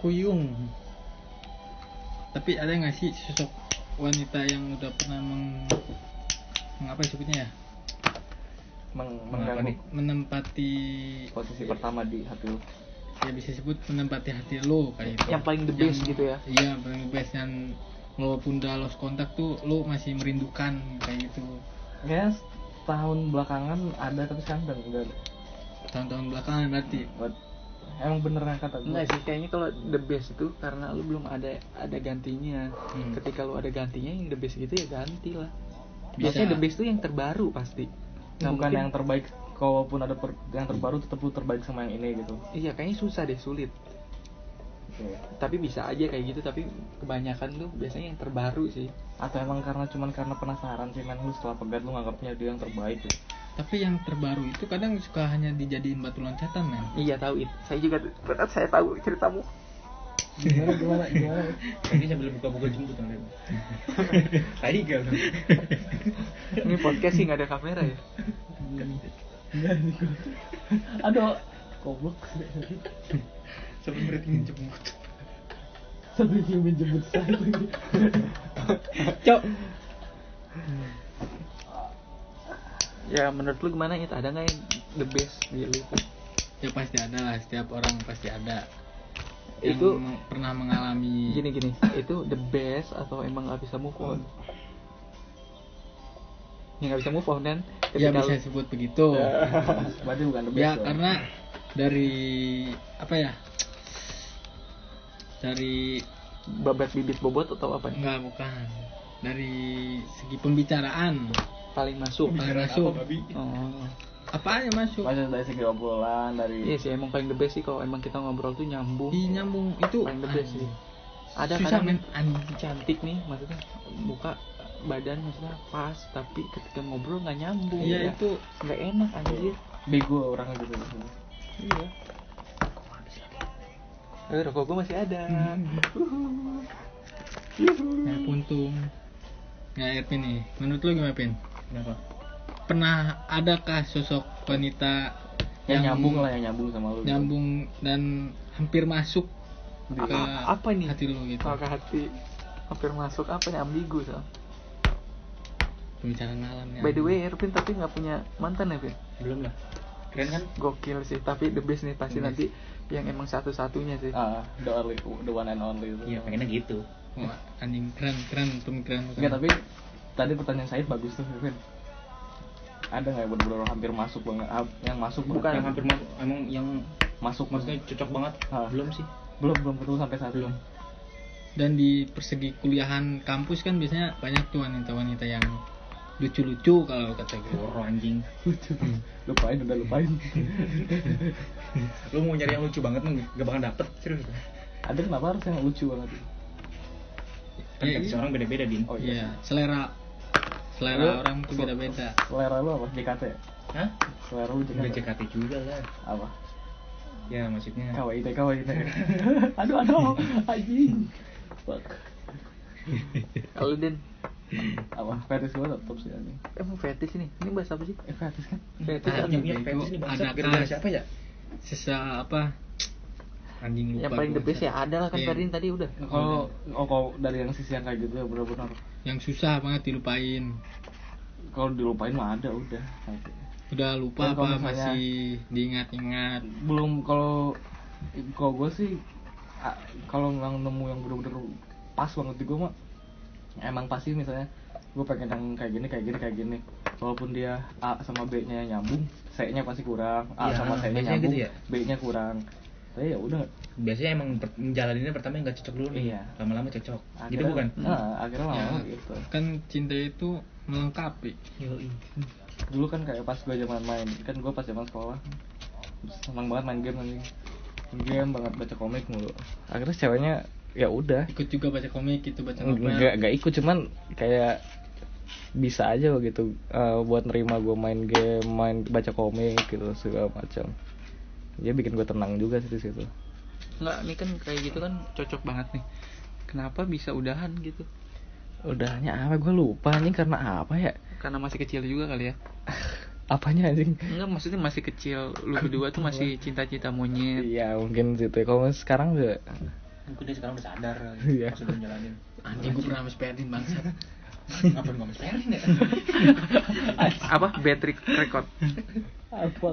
E: kuyung tapi ada nggak sih sosok wanita yang udah pernah meng mengapa sebutnya ya
B: Nah,
E: Mengapa
F: Meng- mengganggu
E: nih? menempati
F: posisi pertama di hati lu
E: ya bisa sebut menempati hati lo kayak gitu
B: Yang paling the best gitu ya.
E: iya yang paling the best yang lo pun udah lost kontak tuh lo masih merindukan kayak gitu
F: ya tahun belakangan ada tapi sekarang udah enggak ada.
E: tahun-tahun belakangan berarti
F: Buat- emang beneran kata gue
B: Enggak sih, kayaknya kalau the best itu karena lu belum ada ada gantinya.
E: Hmm.
B: Ketika lu ada gantinya yang the best gitu ya ganti lah.
E: Bisa.
B: Biasanya the best tuh yang terbaru pasti. Nggak
F: bukan
B: mungkin-
F: yang terbaik kalaupun ada per- yang terbaru tetap lu terbaik sama yang ini gitu
B: Iya, kayaknya susah deh, sulit. Tapi bisa aja kayak gitu, tapi kebanyakan tuh biasanya yang terbaru sih.
F: atau emang karena cuman karena penasaran sih men lu setelah pegat lu nganggapnya dia yang terbaik gitu
E: tapi yang terbaru itu kadang suka hanya dijadiin batu loncatan men
B: Iya, tahu itu. Saya juga berat saya tahu ceritamu.
D: Ini sambil buka-buka jemput nanti. Tadi gak lu?
B: Ini podcast sih nggak ada kamera ya.
F: aduh goblok
D: Sambil merhatiin jemput.
F: sampai dia menjemput saya
B: Cok. Ya menurut lu gimana itu ada nggak yang the best di lu?
E: ya pasti ada lah setiap orang pasti ada yang
B: Itu
E: meng- pernah mengalami
B: gini gini itu the best atau emang nggak bisa move on? Ya nggak bisa move on kan?
E: ya
B: Ketika
E: bisa
B: lu-
E: sebut begitu
F: berarti bukan the best
E: ya
F: dong.
E: karena dari apa ya dari
B: babat bibit bobot atau apa nih?
E: enggak bukan dari segi pembicaraan
B: Paling masuk.
E: paling masuk
B: Oh.
E: apa aja masuk
F: Maksudnya dari segi
A: Ya
F: obrolan dari
B: Iya sih emang paling the best sih kalau emang kita ngobrol tuh nyambung.
E: Ih, nyambung itu anu.
B: Paling the best sih. Ada
E: susah anu.
B: kadang
E: men anjing
B: cantik nih maksudnya muka badan maksudnya pas tapi ketika ngobrol nggak nyambung.
E: iya itu
B: nggak enak anjir.
F: bego orang gitu
B: Iya.
E: Hmm.
B: Eh, rokok gue masih ada. Uhuh.
E: Ya,
A: Kayak puntung.
E: Nah, Irvin nih, menurut lu gimana, Pin?
A: Kenapa?
E: Pernah adakah sosok wanita
B: yang nyambung lah yang nyambung sama lu gitu.
E: nyambung dan hampir masuk
A: ya? Di-
E: ke
A: apa nih?
E: hati lu gitu?
A: Kalau ke hati hampir masuk apa nih ambigu so.
E: Pembicaraan malam ya.
A: By the way, Ervin tapi nggak punya mantan ya, Vin?
D: belum lah
E: keren kan?
A: Gokil sih, tapi the best nih pasti
E: The best.
A: nanti yang emang satu-satunya sih.
B: Iya. ah the only the one and only itu
D: iya pengennya gitu
E: Wah, anjing keren, keren pemikiran lu.
B: Enggak, tapi tadi pertanyaan Said bagus tuh Vin ada nggak yang bener-bener hampir masuk banget ah, yang masuk banget,
D: bukan
B: yang
D: yang hampir ma- emang yang
B: masuk
D: maksudnya cocok banget
B: Ah.
D: belum sih
B: belum belum ketemu sampai saat belum
E: Dan di persegi kuliahan kampus kan biasanya banyak tuh wanita-wanita yang lucu-lucu kalau kata gue.
D: Boro anjing
B: lupain udah lupain
D: lu mau nyari yang lucu banget mah gak bakal dapet serius
B: Iya, ada kenapa harus yang lucu banget
D: kan
E: Iya,
D: tiap
E: iya.
D: orang beda-beda din
B: oh iya
E: Iya, selera selera orang tuh beda-beda.
B: selera lu apa JKT ya?
D: hah
B: selera lu
D: nggak
B: JKT
D: JKT juga lah
B: iya. apa
D: ya maksudnya
B: KWIT KWIT aduh aduh anjing fuck
A: Kalau Den,
B: apa fetish gua tetap sih anjing
A: emang fetish nih. Ini bahasa apa sih?
B: eh fetish kan
A: Fetish
E: Ah,
D: Yang
A: apa?
D: punya
E: Bego,
D: fans ini bahasa
E: ada
D: gara-gara
E: kas.
D: siapa ya
E: Sisa apa? Anjing lupa.
A: Yang paling the
E: gua.
A: best ya ada lah kan
E: Iya.
A: Ferdin tadi udah.
B: kalau oh, kalau dari yang sisi yang kayak gitu ya benar-benar
E: yang susah banget dilupain.
B: kalau dilupain mah ada udah
E: Udah
B: Dan
E: lupa
B: kalau
E: apa
B: misalnya-
E: masih diingat-ingat.
B: belum kalau kalau gue sih a- kalau nggak nemu yang bener-bener pas banget di gue mah emang pasti misalnya gue pengen yang kayak gini kayak gini kayak gini walaupun dia A sama B nya nyambung C nya pasti kurang A
D: Iya,
B: sama C
D: biasanya
B: nya nyambung
D: gitu ya. Gitu
B: B nya kurang tapi ya udah
D: biasanya emang per- menjalaninnya pertama nggak cocok dulu nih
B: Iya.
D: lama-lama cocok gitu
B: akhirnya-
D: bukan Iya.
B: Nah, akhirnya lama
E: Ya,
B: gitu
E: kan cinta itu melengkapi.
B: dulu kan kayak pas gue zaman main kan gue pas zaman sekolah senang banget main game anjing Main game banget baca komik mulu akhirnya ceweknya ya udah
E: Ikut juga baca komik gitu, baca
B: nggak
E: novel.
B: nggak ikut cuman kayak bisa aja gitu eh, buat nerima gue main game main baca komik gitu segala macam dia bikin gue tenang juga sih di situ
A: Enggak, ini kan kayak gitu kan cocok banget nih. Kenapa bisa udahan gitu?
B: udahnya apa gue lupa nih karena apa ya
A: Karena masih kecil juga kali ya.
B: apanya anjing
A: Enggak, maksudnya masih kecil. Lu berdua tuh masih cinta-cinta monyet.
B: iya mungkin gitu ya. kalau sekarang udah
D: mungkin dia sekarang udah sadar
B: Iya.
D: pas udah menjalanin
E: Anjing gue pernah sama Sperdin bangsat.
D: apa nggak mesperin ya
A: Apa? Patrick Record.
B: apa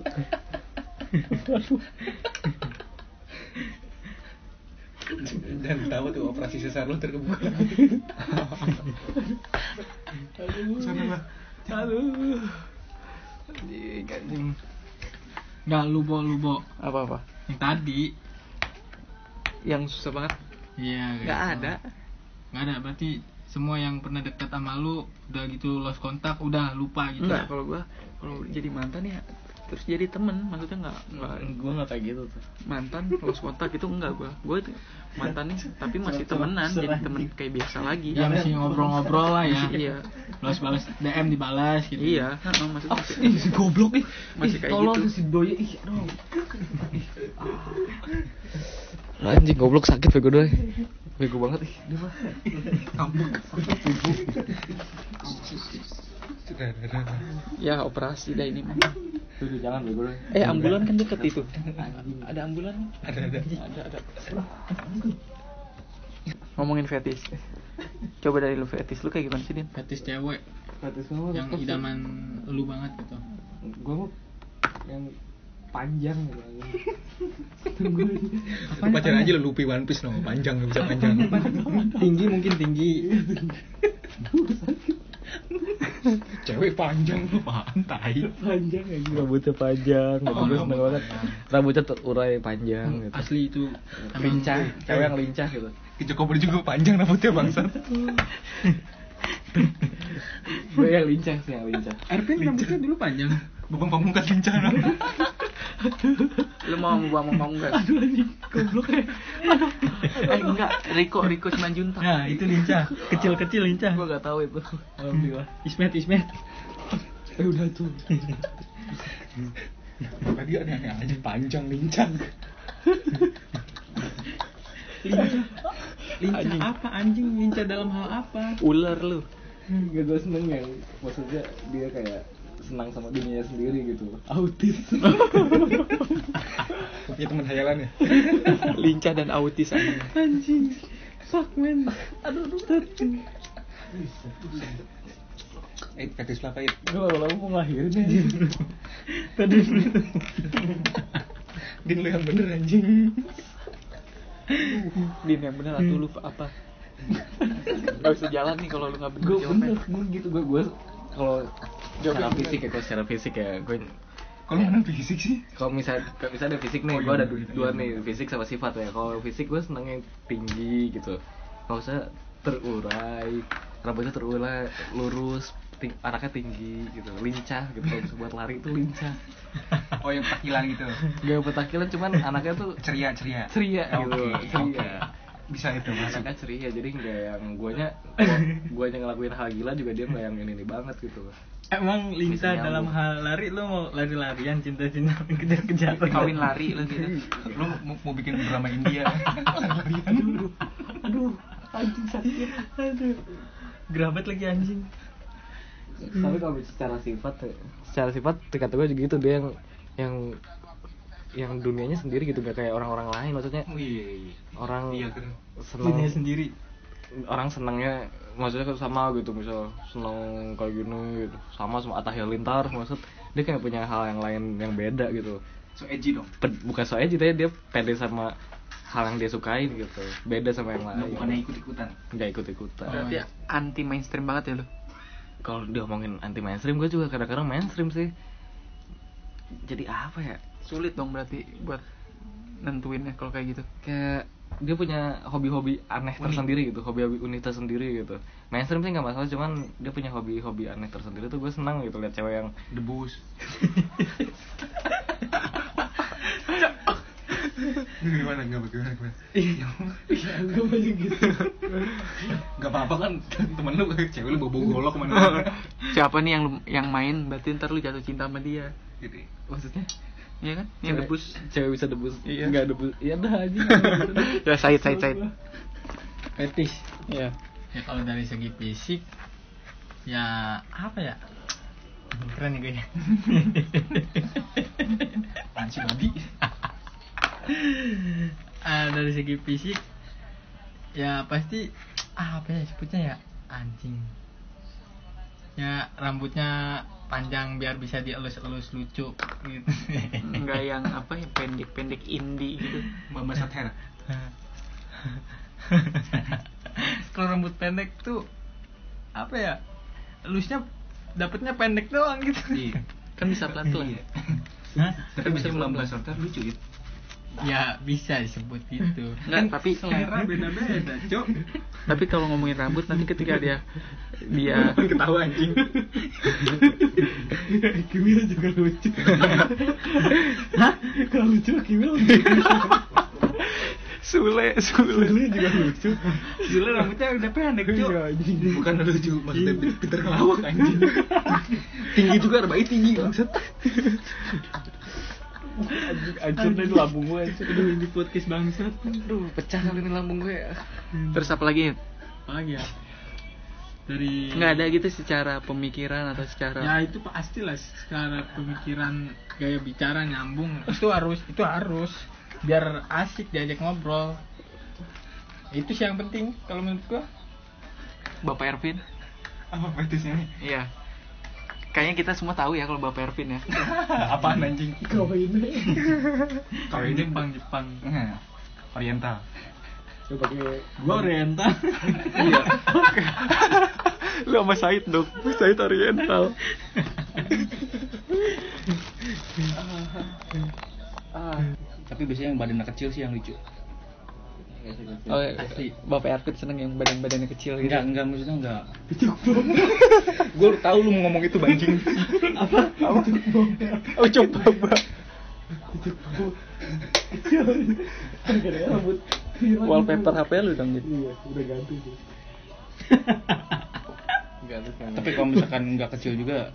D: dan tahu tuh operasi sesar lu terkebuka
E: Enggak lu bo lu bo.
A: Apa-apa?
E: Yang tadi.
A: Yang susah banget.
E: Iya.
A: Enggak ada.
E: Enggak ada berarti semua yang pernah dekat sama lu udah gitu lost kontak, udah lupa gitu.
A: Enggak, kalau gua kalau jadi mantan ya terus jadi temen maksudnya nggak nggak
B: gue nggak kayak gitu tuh
A: mantan lost kontak itu enggak gua gua itu mantannya tapi masih temenan jadi temen kayak biasa lagi
E: Ya masih ngobrol-ngobrol lah ya.
A: iya
E: Balas-balas DM dibalas gitu.
A: iya heeh,
B: Oh,
A: maksudnya masih,
E: goblok nih.
A: masih kayak gitu
E: si Boy. Ih, aduh.
B: anjing goblok sakit bego doy bego banget ih dia mah
A: ya operasi dah ini mah
B: tuh tuh, jangan bego doy
A: eh ambulan kan deket itu
B: Anjing.
A: ada ambulan ada ada ada ada ngomongin fetish coba dari lu fetish lu kayak gimana sih din
E: Fetis cewek
B: Fetish gua mah
E: yang
B: tetep sih.
E: idaman lu banget gitu.
B: gue mau yang panjang gitu anjing.
D: lu pacaran aja lu lupi one piece dong panjang nggak bisa panjang
E: Tinggi mungkin tinggi.
D: cewek panjang lu pantai
B: panjang ya rambutnya panjang gitu gue seneng banget rambutnya terurai panjang gitu
E: Asli itu emang
B: lincah cewek yang lincah gitu
D: ke Joko Budi juga panjang rambutnya bangsat
B: gue yang lincah sih yang lincah
E: Erpin rambutnya dulu panjang.
D: Bubang pamungkas lincah dong.
A: lu mau gua mau ngomong nggak aduh anjing goblok eh enggak Riko Riko Simanjuntak
E: Nah, itu lincah, kecil-kecil lincah.
A: gua nggak tahu itu
E: Alhamdulillah. Ismet, Ismet.
B: eh udah tuh
D: Tadi aneh-aneh aja panjang lincah.
E: lincah
B: Anjing.
E: apa anjing lincah dalam hal apa
B: ular lu
F: Gak gue seneng ya Maksudnya dia kayak senang sama dunianya sendiri gitu Autis
D: Ya teman hayalan ya.
B: lincah dan autis anjing
E: anjing fuck man
D: Eh, praktis apa ya? Iya.
F: Gue lama-lama mau ngelahirin aja
D: Tadi dulu. Din lu yang bener anjing.
B: din yang bener atau lu apa gak bisa jalan nih kalau lu nggak bener
F: Gue
B: jawabannya.
F: bener, gue gitu Gue gue kalau
C: secara fisik ya, gua secara fisik ya, gue
D: Kalau mana fisik sih?
C: kalau misal kalau misal ada fisik nih,
D: Oh,
C: gue
D: iya,
C: ada
D: iya,
C: dua
D: iya.
C: nih fisik sama sifat ya. Kalau fisik gue seneng yang tinggi gitu. Kalau saya terurai, rambutnya terurai, lurus, ting- anaknya tinggi gitu, lincah gitu. Kalau bisa buat lari itu lincah.
D: Oh, yang petakilan gitu.
C: Gak petakilan cuman anaknya tuh
D: Ceria-ceria.
C: ceria
D: Oh,
C: gitu,
D: oke,
C: ceria.
D: oke. Bisa ya, itu masuk.
C: Anaknya ceria jadi nggak yang guanya, guanya ngelakuin hal gila juga dia nggak yang ini, ini banget gitu.
E: emang lincah
C: Bisa nyambung.
E: dalam hal lari lu mau lari-larian cinta-cinta kejar-kejar
D: Kawin lari lu gitu. Lu mau, mau bikin drama India. Larian.
E: aduh gerabat lagi anjing
F: Tapi kalau secara sifat Hmm. ya. Secara sifat kata gue juga gitu Dia yang Yang yang dunianya sendiri gitu gak kayak orang-orang lain maksudnya
D: Wih.
F: orang
D: Iya, keren.
F: senang
E: dunia sendiri
F: orang senangnya maksudnya kan sama gitu misal senang kayak gini gitu. sama sama Atta Halilintar maksud dia kayak punya hal yang lain yang beda gitu
D: So edgy dong.
F: Pe- bukan soalnya ceritanya dia pede sama hal yang dia sukain gitu beda sama yang
D: Nah,
B: Iya.
F: lain
D: bukannya ikut-ikutan.
F: nggak ikut ikutan
B: berarti
E: Oh.
D: iya.
B: anti mainstream banget ya lu
C: Kalau diomongin anti mainstream, gue juga kadang-kadang mainstream sih. Jadi apa ya?
B: sulit dong berarti buat nentuinnya kalau kayak gitu
C: kayak dia punya hobi-hobi aneh tersendiri gitu hobi-hobi unik tersendiri gitu mainstream sih nggak masalah cuman dia punya hobi-hobi aneh tersendiri tuh gue senang gitu lihat cewek yang
D: Debus. gimana gimana gimana gimana Iya. gak apa-apa kan temen lu cewek lu bobo golok kemana
B: siapa nih yang lu- yang main berarti ntar lu jatuh cinta sama dia
D: gitu
B: maksudnya iya kan yang
C: Cewek-
B: debus
C: cewek bisa debus
B: Iya.
C: nggak debus iya dah aja
B: ya sait sait sait
E: fetish
B: ya
E: ya kalau dari segi fisik ya apa ya keren ya gue ya
D: ansi babi
E: Ah, dari segi fisik ya pasti ah, apa ya sebutnya ya anjing ya rambutnya panjang biar bisa dielus-elus lucu gitu
B: nggak yang apa yang pendek pendek indie gitu
D: mama sater
E: kalau rambut pendek tuh apa ya elusnya dapetnya pendek doang gitu
D: iya
B: kan bisa pelan pelan
D: Iya.
E: Hah?
D: tapi bisa mama sater lucu gitu
E: ya bisa disebut gitu
B: Nggak, tapi-
E: selera beda-beda cok
B: tapi kalau ngomongin rambut nanti ketika dia
D: Iya,
B: dia
D: ketawa anjing
E: Kimil juga lucu hah kalau lucu Kimil
B: sule sule
E: juga lucu Iya, Gila rambutnya udah pendek cok
D: bukan lucu maksudnya
E: Iya.
D: pinter ngelawak anjing tinggi juga rebai tinggi maksud
E: Hancur deh lambung gue Aduh ini podcast bangsat Aduh
C: pecah kali ini lambung gue ya.
B: terus apa lagi
E: Apalagi ya Dari
B: nggak ada gitu secara pemikiran atau
E: Ya
B: secara
E: itu pasti lah Secara pemikiran Gaya bicara nyambung Itu harus Itu harus Biar asik diajak ngobrol Itu sih yang penting Kalau menurut gua
B: bapak Ervin
D: apa fetishnya nih
B: iya kayaknya kita semua tahu ya kalau bapak Ervin ya
D: apaan anjing kau ini kau ini
E: Jepang Jepang
D: Nah, oriental
F: dia pakai
E: Gua oriental
D: Iya.
B: lu sama Said dong Said Oriental
D: Ah. tapi biasanya yang badannya kecil sih yang lucu
B: oh, iya. bapak Ervin seneng yang badan badannya kecil gitu
D: enggak enggak maksudnya enggak gue tahu lu mau ngomong itu banjing
B: oh coba Bang.
F: rambut
B: wallpaper HP lu dong gitu
F: iya udah ganti sih
D: tapi kalau misalkan enggak kecil juga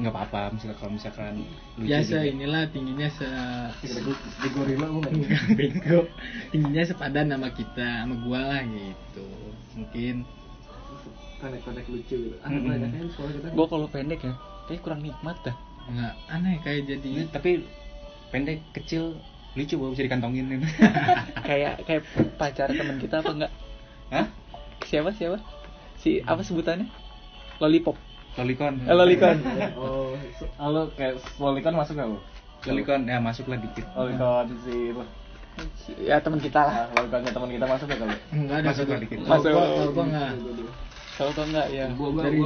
D: nggak apa-apa misalkan kalau misalkan lucu
B: Ya,
E: biasa
D: dikit.
E: inilah tingginya Ya, se
B: Di gorila gue nggak ingat.
E: bego tingginya sepadan sama kita sama gua lah gitu mungkin
B: Konek-konek lucu gitu. Ah,
D: Mm-mm.
B: banyak kan sekolah kita.
J: Gue kalau pendek ya, kayak kurang nikmat dah.
E: nggak aneh kayak
D: Ini
E: jadi
D: tapi pendek kecil lucu baru bisa dikantongin
J: kayak kayak pacar teman kita apa enggak?
D: Hah?
J: Siapa siapa? Si apa sebutannya? Lollipop.
D: Lolicon.
J: Eh, lolicon.
B: Oh, so- lo kayak lolicon masuk nggak lo?
D: Lolicon ya masuklah dikit.
J: Oh,
B: Lolicon si lo.
J: Ya teman kita lah.
B: Ah, loliconnya teman kita masuk ya kalau.
E: nggak ada
D: Masuklah
E: kalau-
D: dikit.
E: kalau
J: Masuk.
E: gua- kalau gua nggak
J: Tahu tau enggak
B: Iya.
J: ya?
E: dari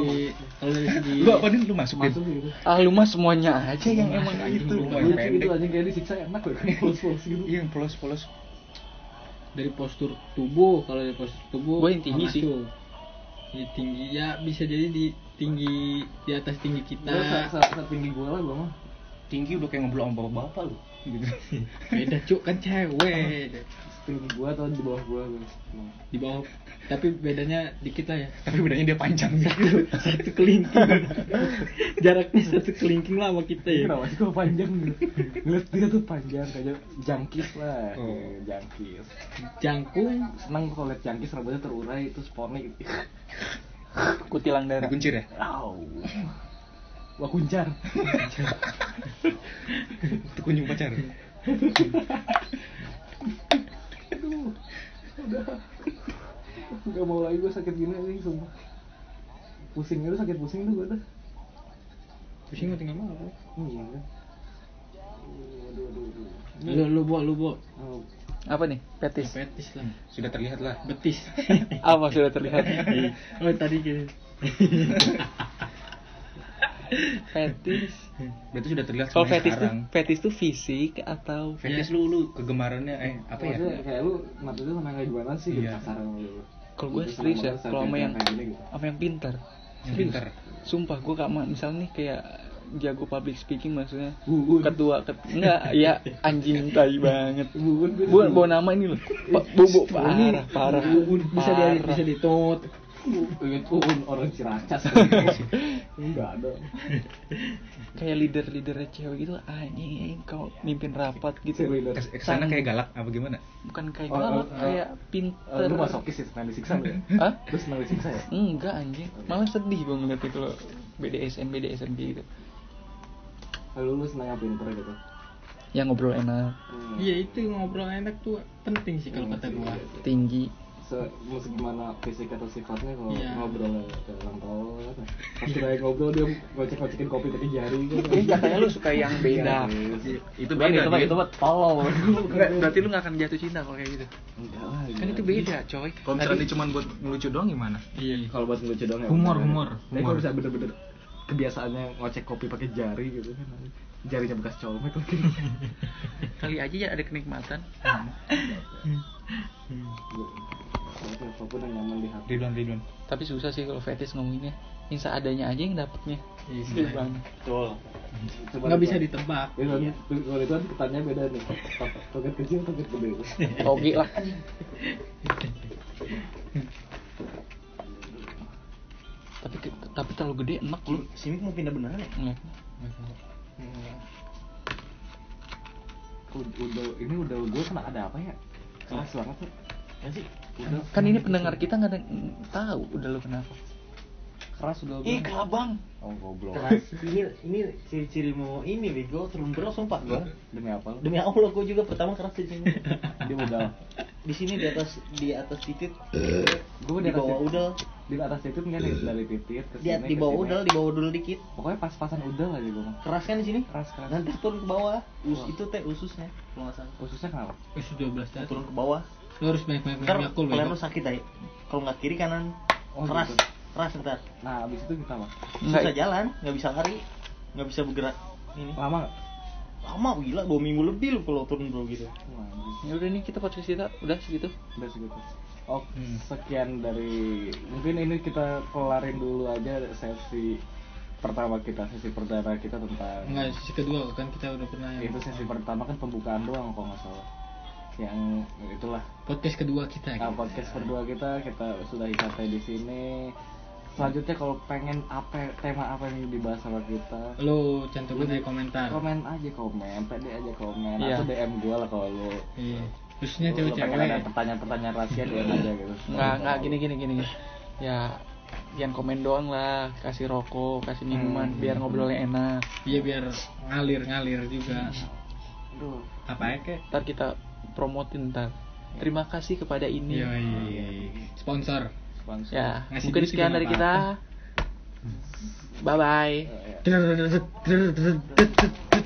E: kalau dari segi
D: Lu apa nih lu masukin?
B: Masuk gitu.
J: Ah lu mah semuanya aja yang emang
D: Itu
J: gitu.
D: lumayan
B: Lucu gitu
D: pendek.
B: anjing kayak disiksa enak loh. Polos-polos gitu.
D: Iya yang polos-polos.
E: dari postur tubuh kalau dari postur tubuh
J: Gua yang tinggi sih.
E: Maco. Jadi tinggi ya bisa jadi di tinggi di atas tinggi kita
B: Gue setinggi gue lah gue mah.
D: Tinggi udah kayak ngobrol sama bapak-bapak lu. Gitu.
E: beda cuk kan cewek
B: Setinggi gue atau di bawah gue gue.
E: di bawah tapi bedanya dikit lah ya
D: Tapi bedanya dia panjang
E: satu, satu kelingking jaraknya satu kelingking lah sama kita
J: Iya.
E: ya
B: Kenapa sih kok panjang gitu? Ngeliat dia tuh panjang kayak jangkis lah.
D: Oh.
B: Iya, Jangkis.
E: jangkung
B: Seneng gua kalau liat jangkis rambutnya terurai itu poni gitu.
J: Kutilang darah.
D: Kuncir ya?
B: Au. Wah kuncar.
D: Itu kunjung pacar.
B: Gak mau lagi gue sakit gini nih sumpah. Pusing itu sakit pusing tuh gue dah.
E: pusing gua tinggal mana
B: Iya. Aduh, aduh, aduh.
E: lu lu bo lu bo
B: Oh,
J: Apa nih? Petis.
E: betis lah
D: Sudah terlihat lah.
E: betis
J: Apa sudah terlihat?
E: oh tadi gitu
J: Petis.
D: Berarti sudah terlihat
J: Kalau
D: semuanya
J: fetis tuh,
D: sekarang.
J: fetis tuh fisik atau
D: Fetis lu lu kegemarannya eh apa ya?
B: Maksudnya kayak lu maksudnya sama yang kayak gimana sih gitu
D: Iya.
B: kasar sama lu.
J: kalau gue
B: Terus
J: serius ya,
B: sama-sama
J: kalau sama
B: kayak
J: yang
B: kayak gini gitu.
J: sama yang pintar.
D: Yang pintar.
J: Sumpah gue kak misalnya nih kayak jago public speaking maksudnya
B: Buun.
J: ketua ket enggak ya anjing tai banget
B: Buun gue.
J: bukan bawa nama ini loh Pa- bu bu parah parah
E: bisa di
J: parah.
E: bisa ditut
B: Ingat Uun orang Ciracas. Enggak ada.
J: kayak leader leadernya cewek gitu anjing kau mimpin rapat gitu
B: Serius.
D: Kes- Kesana kayak galak apa gimana?
J: bukan kayak
B: Oh,
J: galak
B: oh,
J: kayak
B: Eh,
J: pinter
B: Lu masokis ya, senang disiksa lu ya?
J: Hah?
B: Lu senang disiksa ya?
J: enggak anjing malah sedih gue ngeliat itu loh BDSM BDSM gitu
B: Lalu Eh, lu senang ngapain pernah gitu?
J: yang ngobrol enak
B: Hmm.
E: iya itu ngobrol enak tuh penting sih kalau kata gua
J: tinggi
B: Hmm. Se mau segimana fisik atau sifatnya kalau
E: Iya.
B: ngobrol ke orang tol kan. Pas kita lagi ngobrol dia ngocek-ngocekin kopi pakai jari gitu.
A: Iya,
J: eh katanya lu suka yang beda
K: Itu beda. Dit.
B: mah tolol.
J: Enggak, berarti lu gak akan jatuh cinta kalau kayak gitu
B: Enggak lah. iya.
J: kan itu beda coy
K: Kalau misalnya dia cuma buat ngelucu doang gimana?
E: iya
B: Kalau buat lucu doang ya.
E: Humor,
B: bener.
E: humor,
B: Tapi
E: humor.
B: kalau bisa bener-bener kebiasaannya ngocek kopi pakai jari gitu kan. Jarinya bekas gitu. colmek lagi.
J: kali aja ya ada kenikmatan
B: Apapun yang nyaman di hati.
D: Ridwan Ridwan.
J: tapi susah sih kalau fetis ngomonginnya yang seadanya aja yang dapetnya
A: Iya.
J: Iya, Sedih banget.
B: Coba
E: nggak bisa
B: di
E: ditebak
B: Ya,
J: Iya.
B: soalnya kalau itu kan ketannya beda nih. To- Toget kecil, toget gede.
J: oke lah tapi ke- tapi terlalu gede enak lu
K: Simik mau pindah beneran ya?
J: Ngeliat.
B: Ud- Udah, ini udah gue kena ada apa ya? Keras banget tuh. Ya sih, udah
J: kan ini pendengar kita nggak ada yang tahu udah lu kenapa
B: keras udah.
J: ih kelabang
B: Oh goblok.
A: keras ini ini ciri-ciri mau ini bego turun bro sumpah gua
B: Demi apa lu?
A: demi allah gua juga pertama keras di sini
B: Dia udah.
A: di sini di atas di atas titik
B: Gue
A: di
B: di atas
A: bawah
B: titik,
A: udel
B: di atas titik kan dari- dari titik ke
A: di,
B: sini.
A: di
B: ke
A: bawah
B: sini.
J: ya.
A: udel di bawah udel dikit
B: Pokoknya pas-pasan udel aja gue mah.
A: keras kan di sini
B: Keras keras.
A: nanti turun ke bawah Us,
B: Wah.
A: itu teh ususnya kalau nggak salah
B: Khususnya kenapa?
E: usus 12 tahun
A: turun ke bawah
E: lu harus banyak banyak
A: ntar
E: minum Yakult,
A: kalian
E: Bego.
A: lu sakit aja kalau nggak kiri kanan
B: Oh,
A: keras
B: gitu.
A: keras ntar
B: Nah, abis itu kita mah
A: susah jalan nggak bisa lari nggak bisa bergerak ini
B: lama. nggak?
A: lama gila dua minggu lebih lu kalau turun bro gitu
B: Wah, anjing.
J: ya udah nih kita podcast kita udah segitu Hmm.
B: Udah segitu. Oke, sekian dari mungkin ini kita kelarin dulu aja sesi pertama kita, sesi perdana kita tentang
E: Enggak, sisi kedua kan kita udah pernah
A: Iya,
E: yang
B: itu sesi pertama kan pembukaan doang kalau nggak salah. Yang itulah
E: podcast kedua kita.
A: Ah,
E: gitu.
B: Nah, podcast berdua kita kita sudah sampai di sini. selanjutnya kalau pengen apa tema apa yang dibahas sama kita
E: Lu cantumin
J: Nah.
E: aja komentar.
A: Oh.
B: komen aja komen pede aja komen
E: Iya.
B: atau dm gua lah kalau lu
E: Iya. Khususnya
B: lu pengen ada
E: cewek-cewek.
B: pertanyaan-pertanyaan rahasia dm aja gitu
F: nggak nggak gini gini gini ya jangan komen doang lah kasih rokok kasih
E: Hmm.
F: minuman
B: Hmm.
F: biar ngobrolnya enak
E: Iya biar ngalir-ngalir juga.
B: Aduh.
E: Apa ya kek?
F: ntar kita promotin ntar terima kasih kepada ini
E: Iya, iya, iya, iya. Sponsor.
B: sponsor
F: ya
E: Ngasih
F: mungkin
E: duit
F: sekian
E: juga
F: dari
E: nggak
F: kita bye bye
B: Eh, ya.
E: Drrrr, drrrr, drrrr, drrrr, drrrr.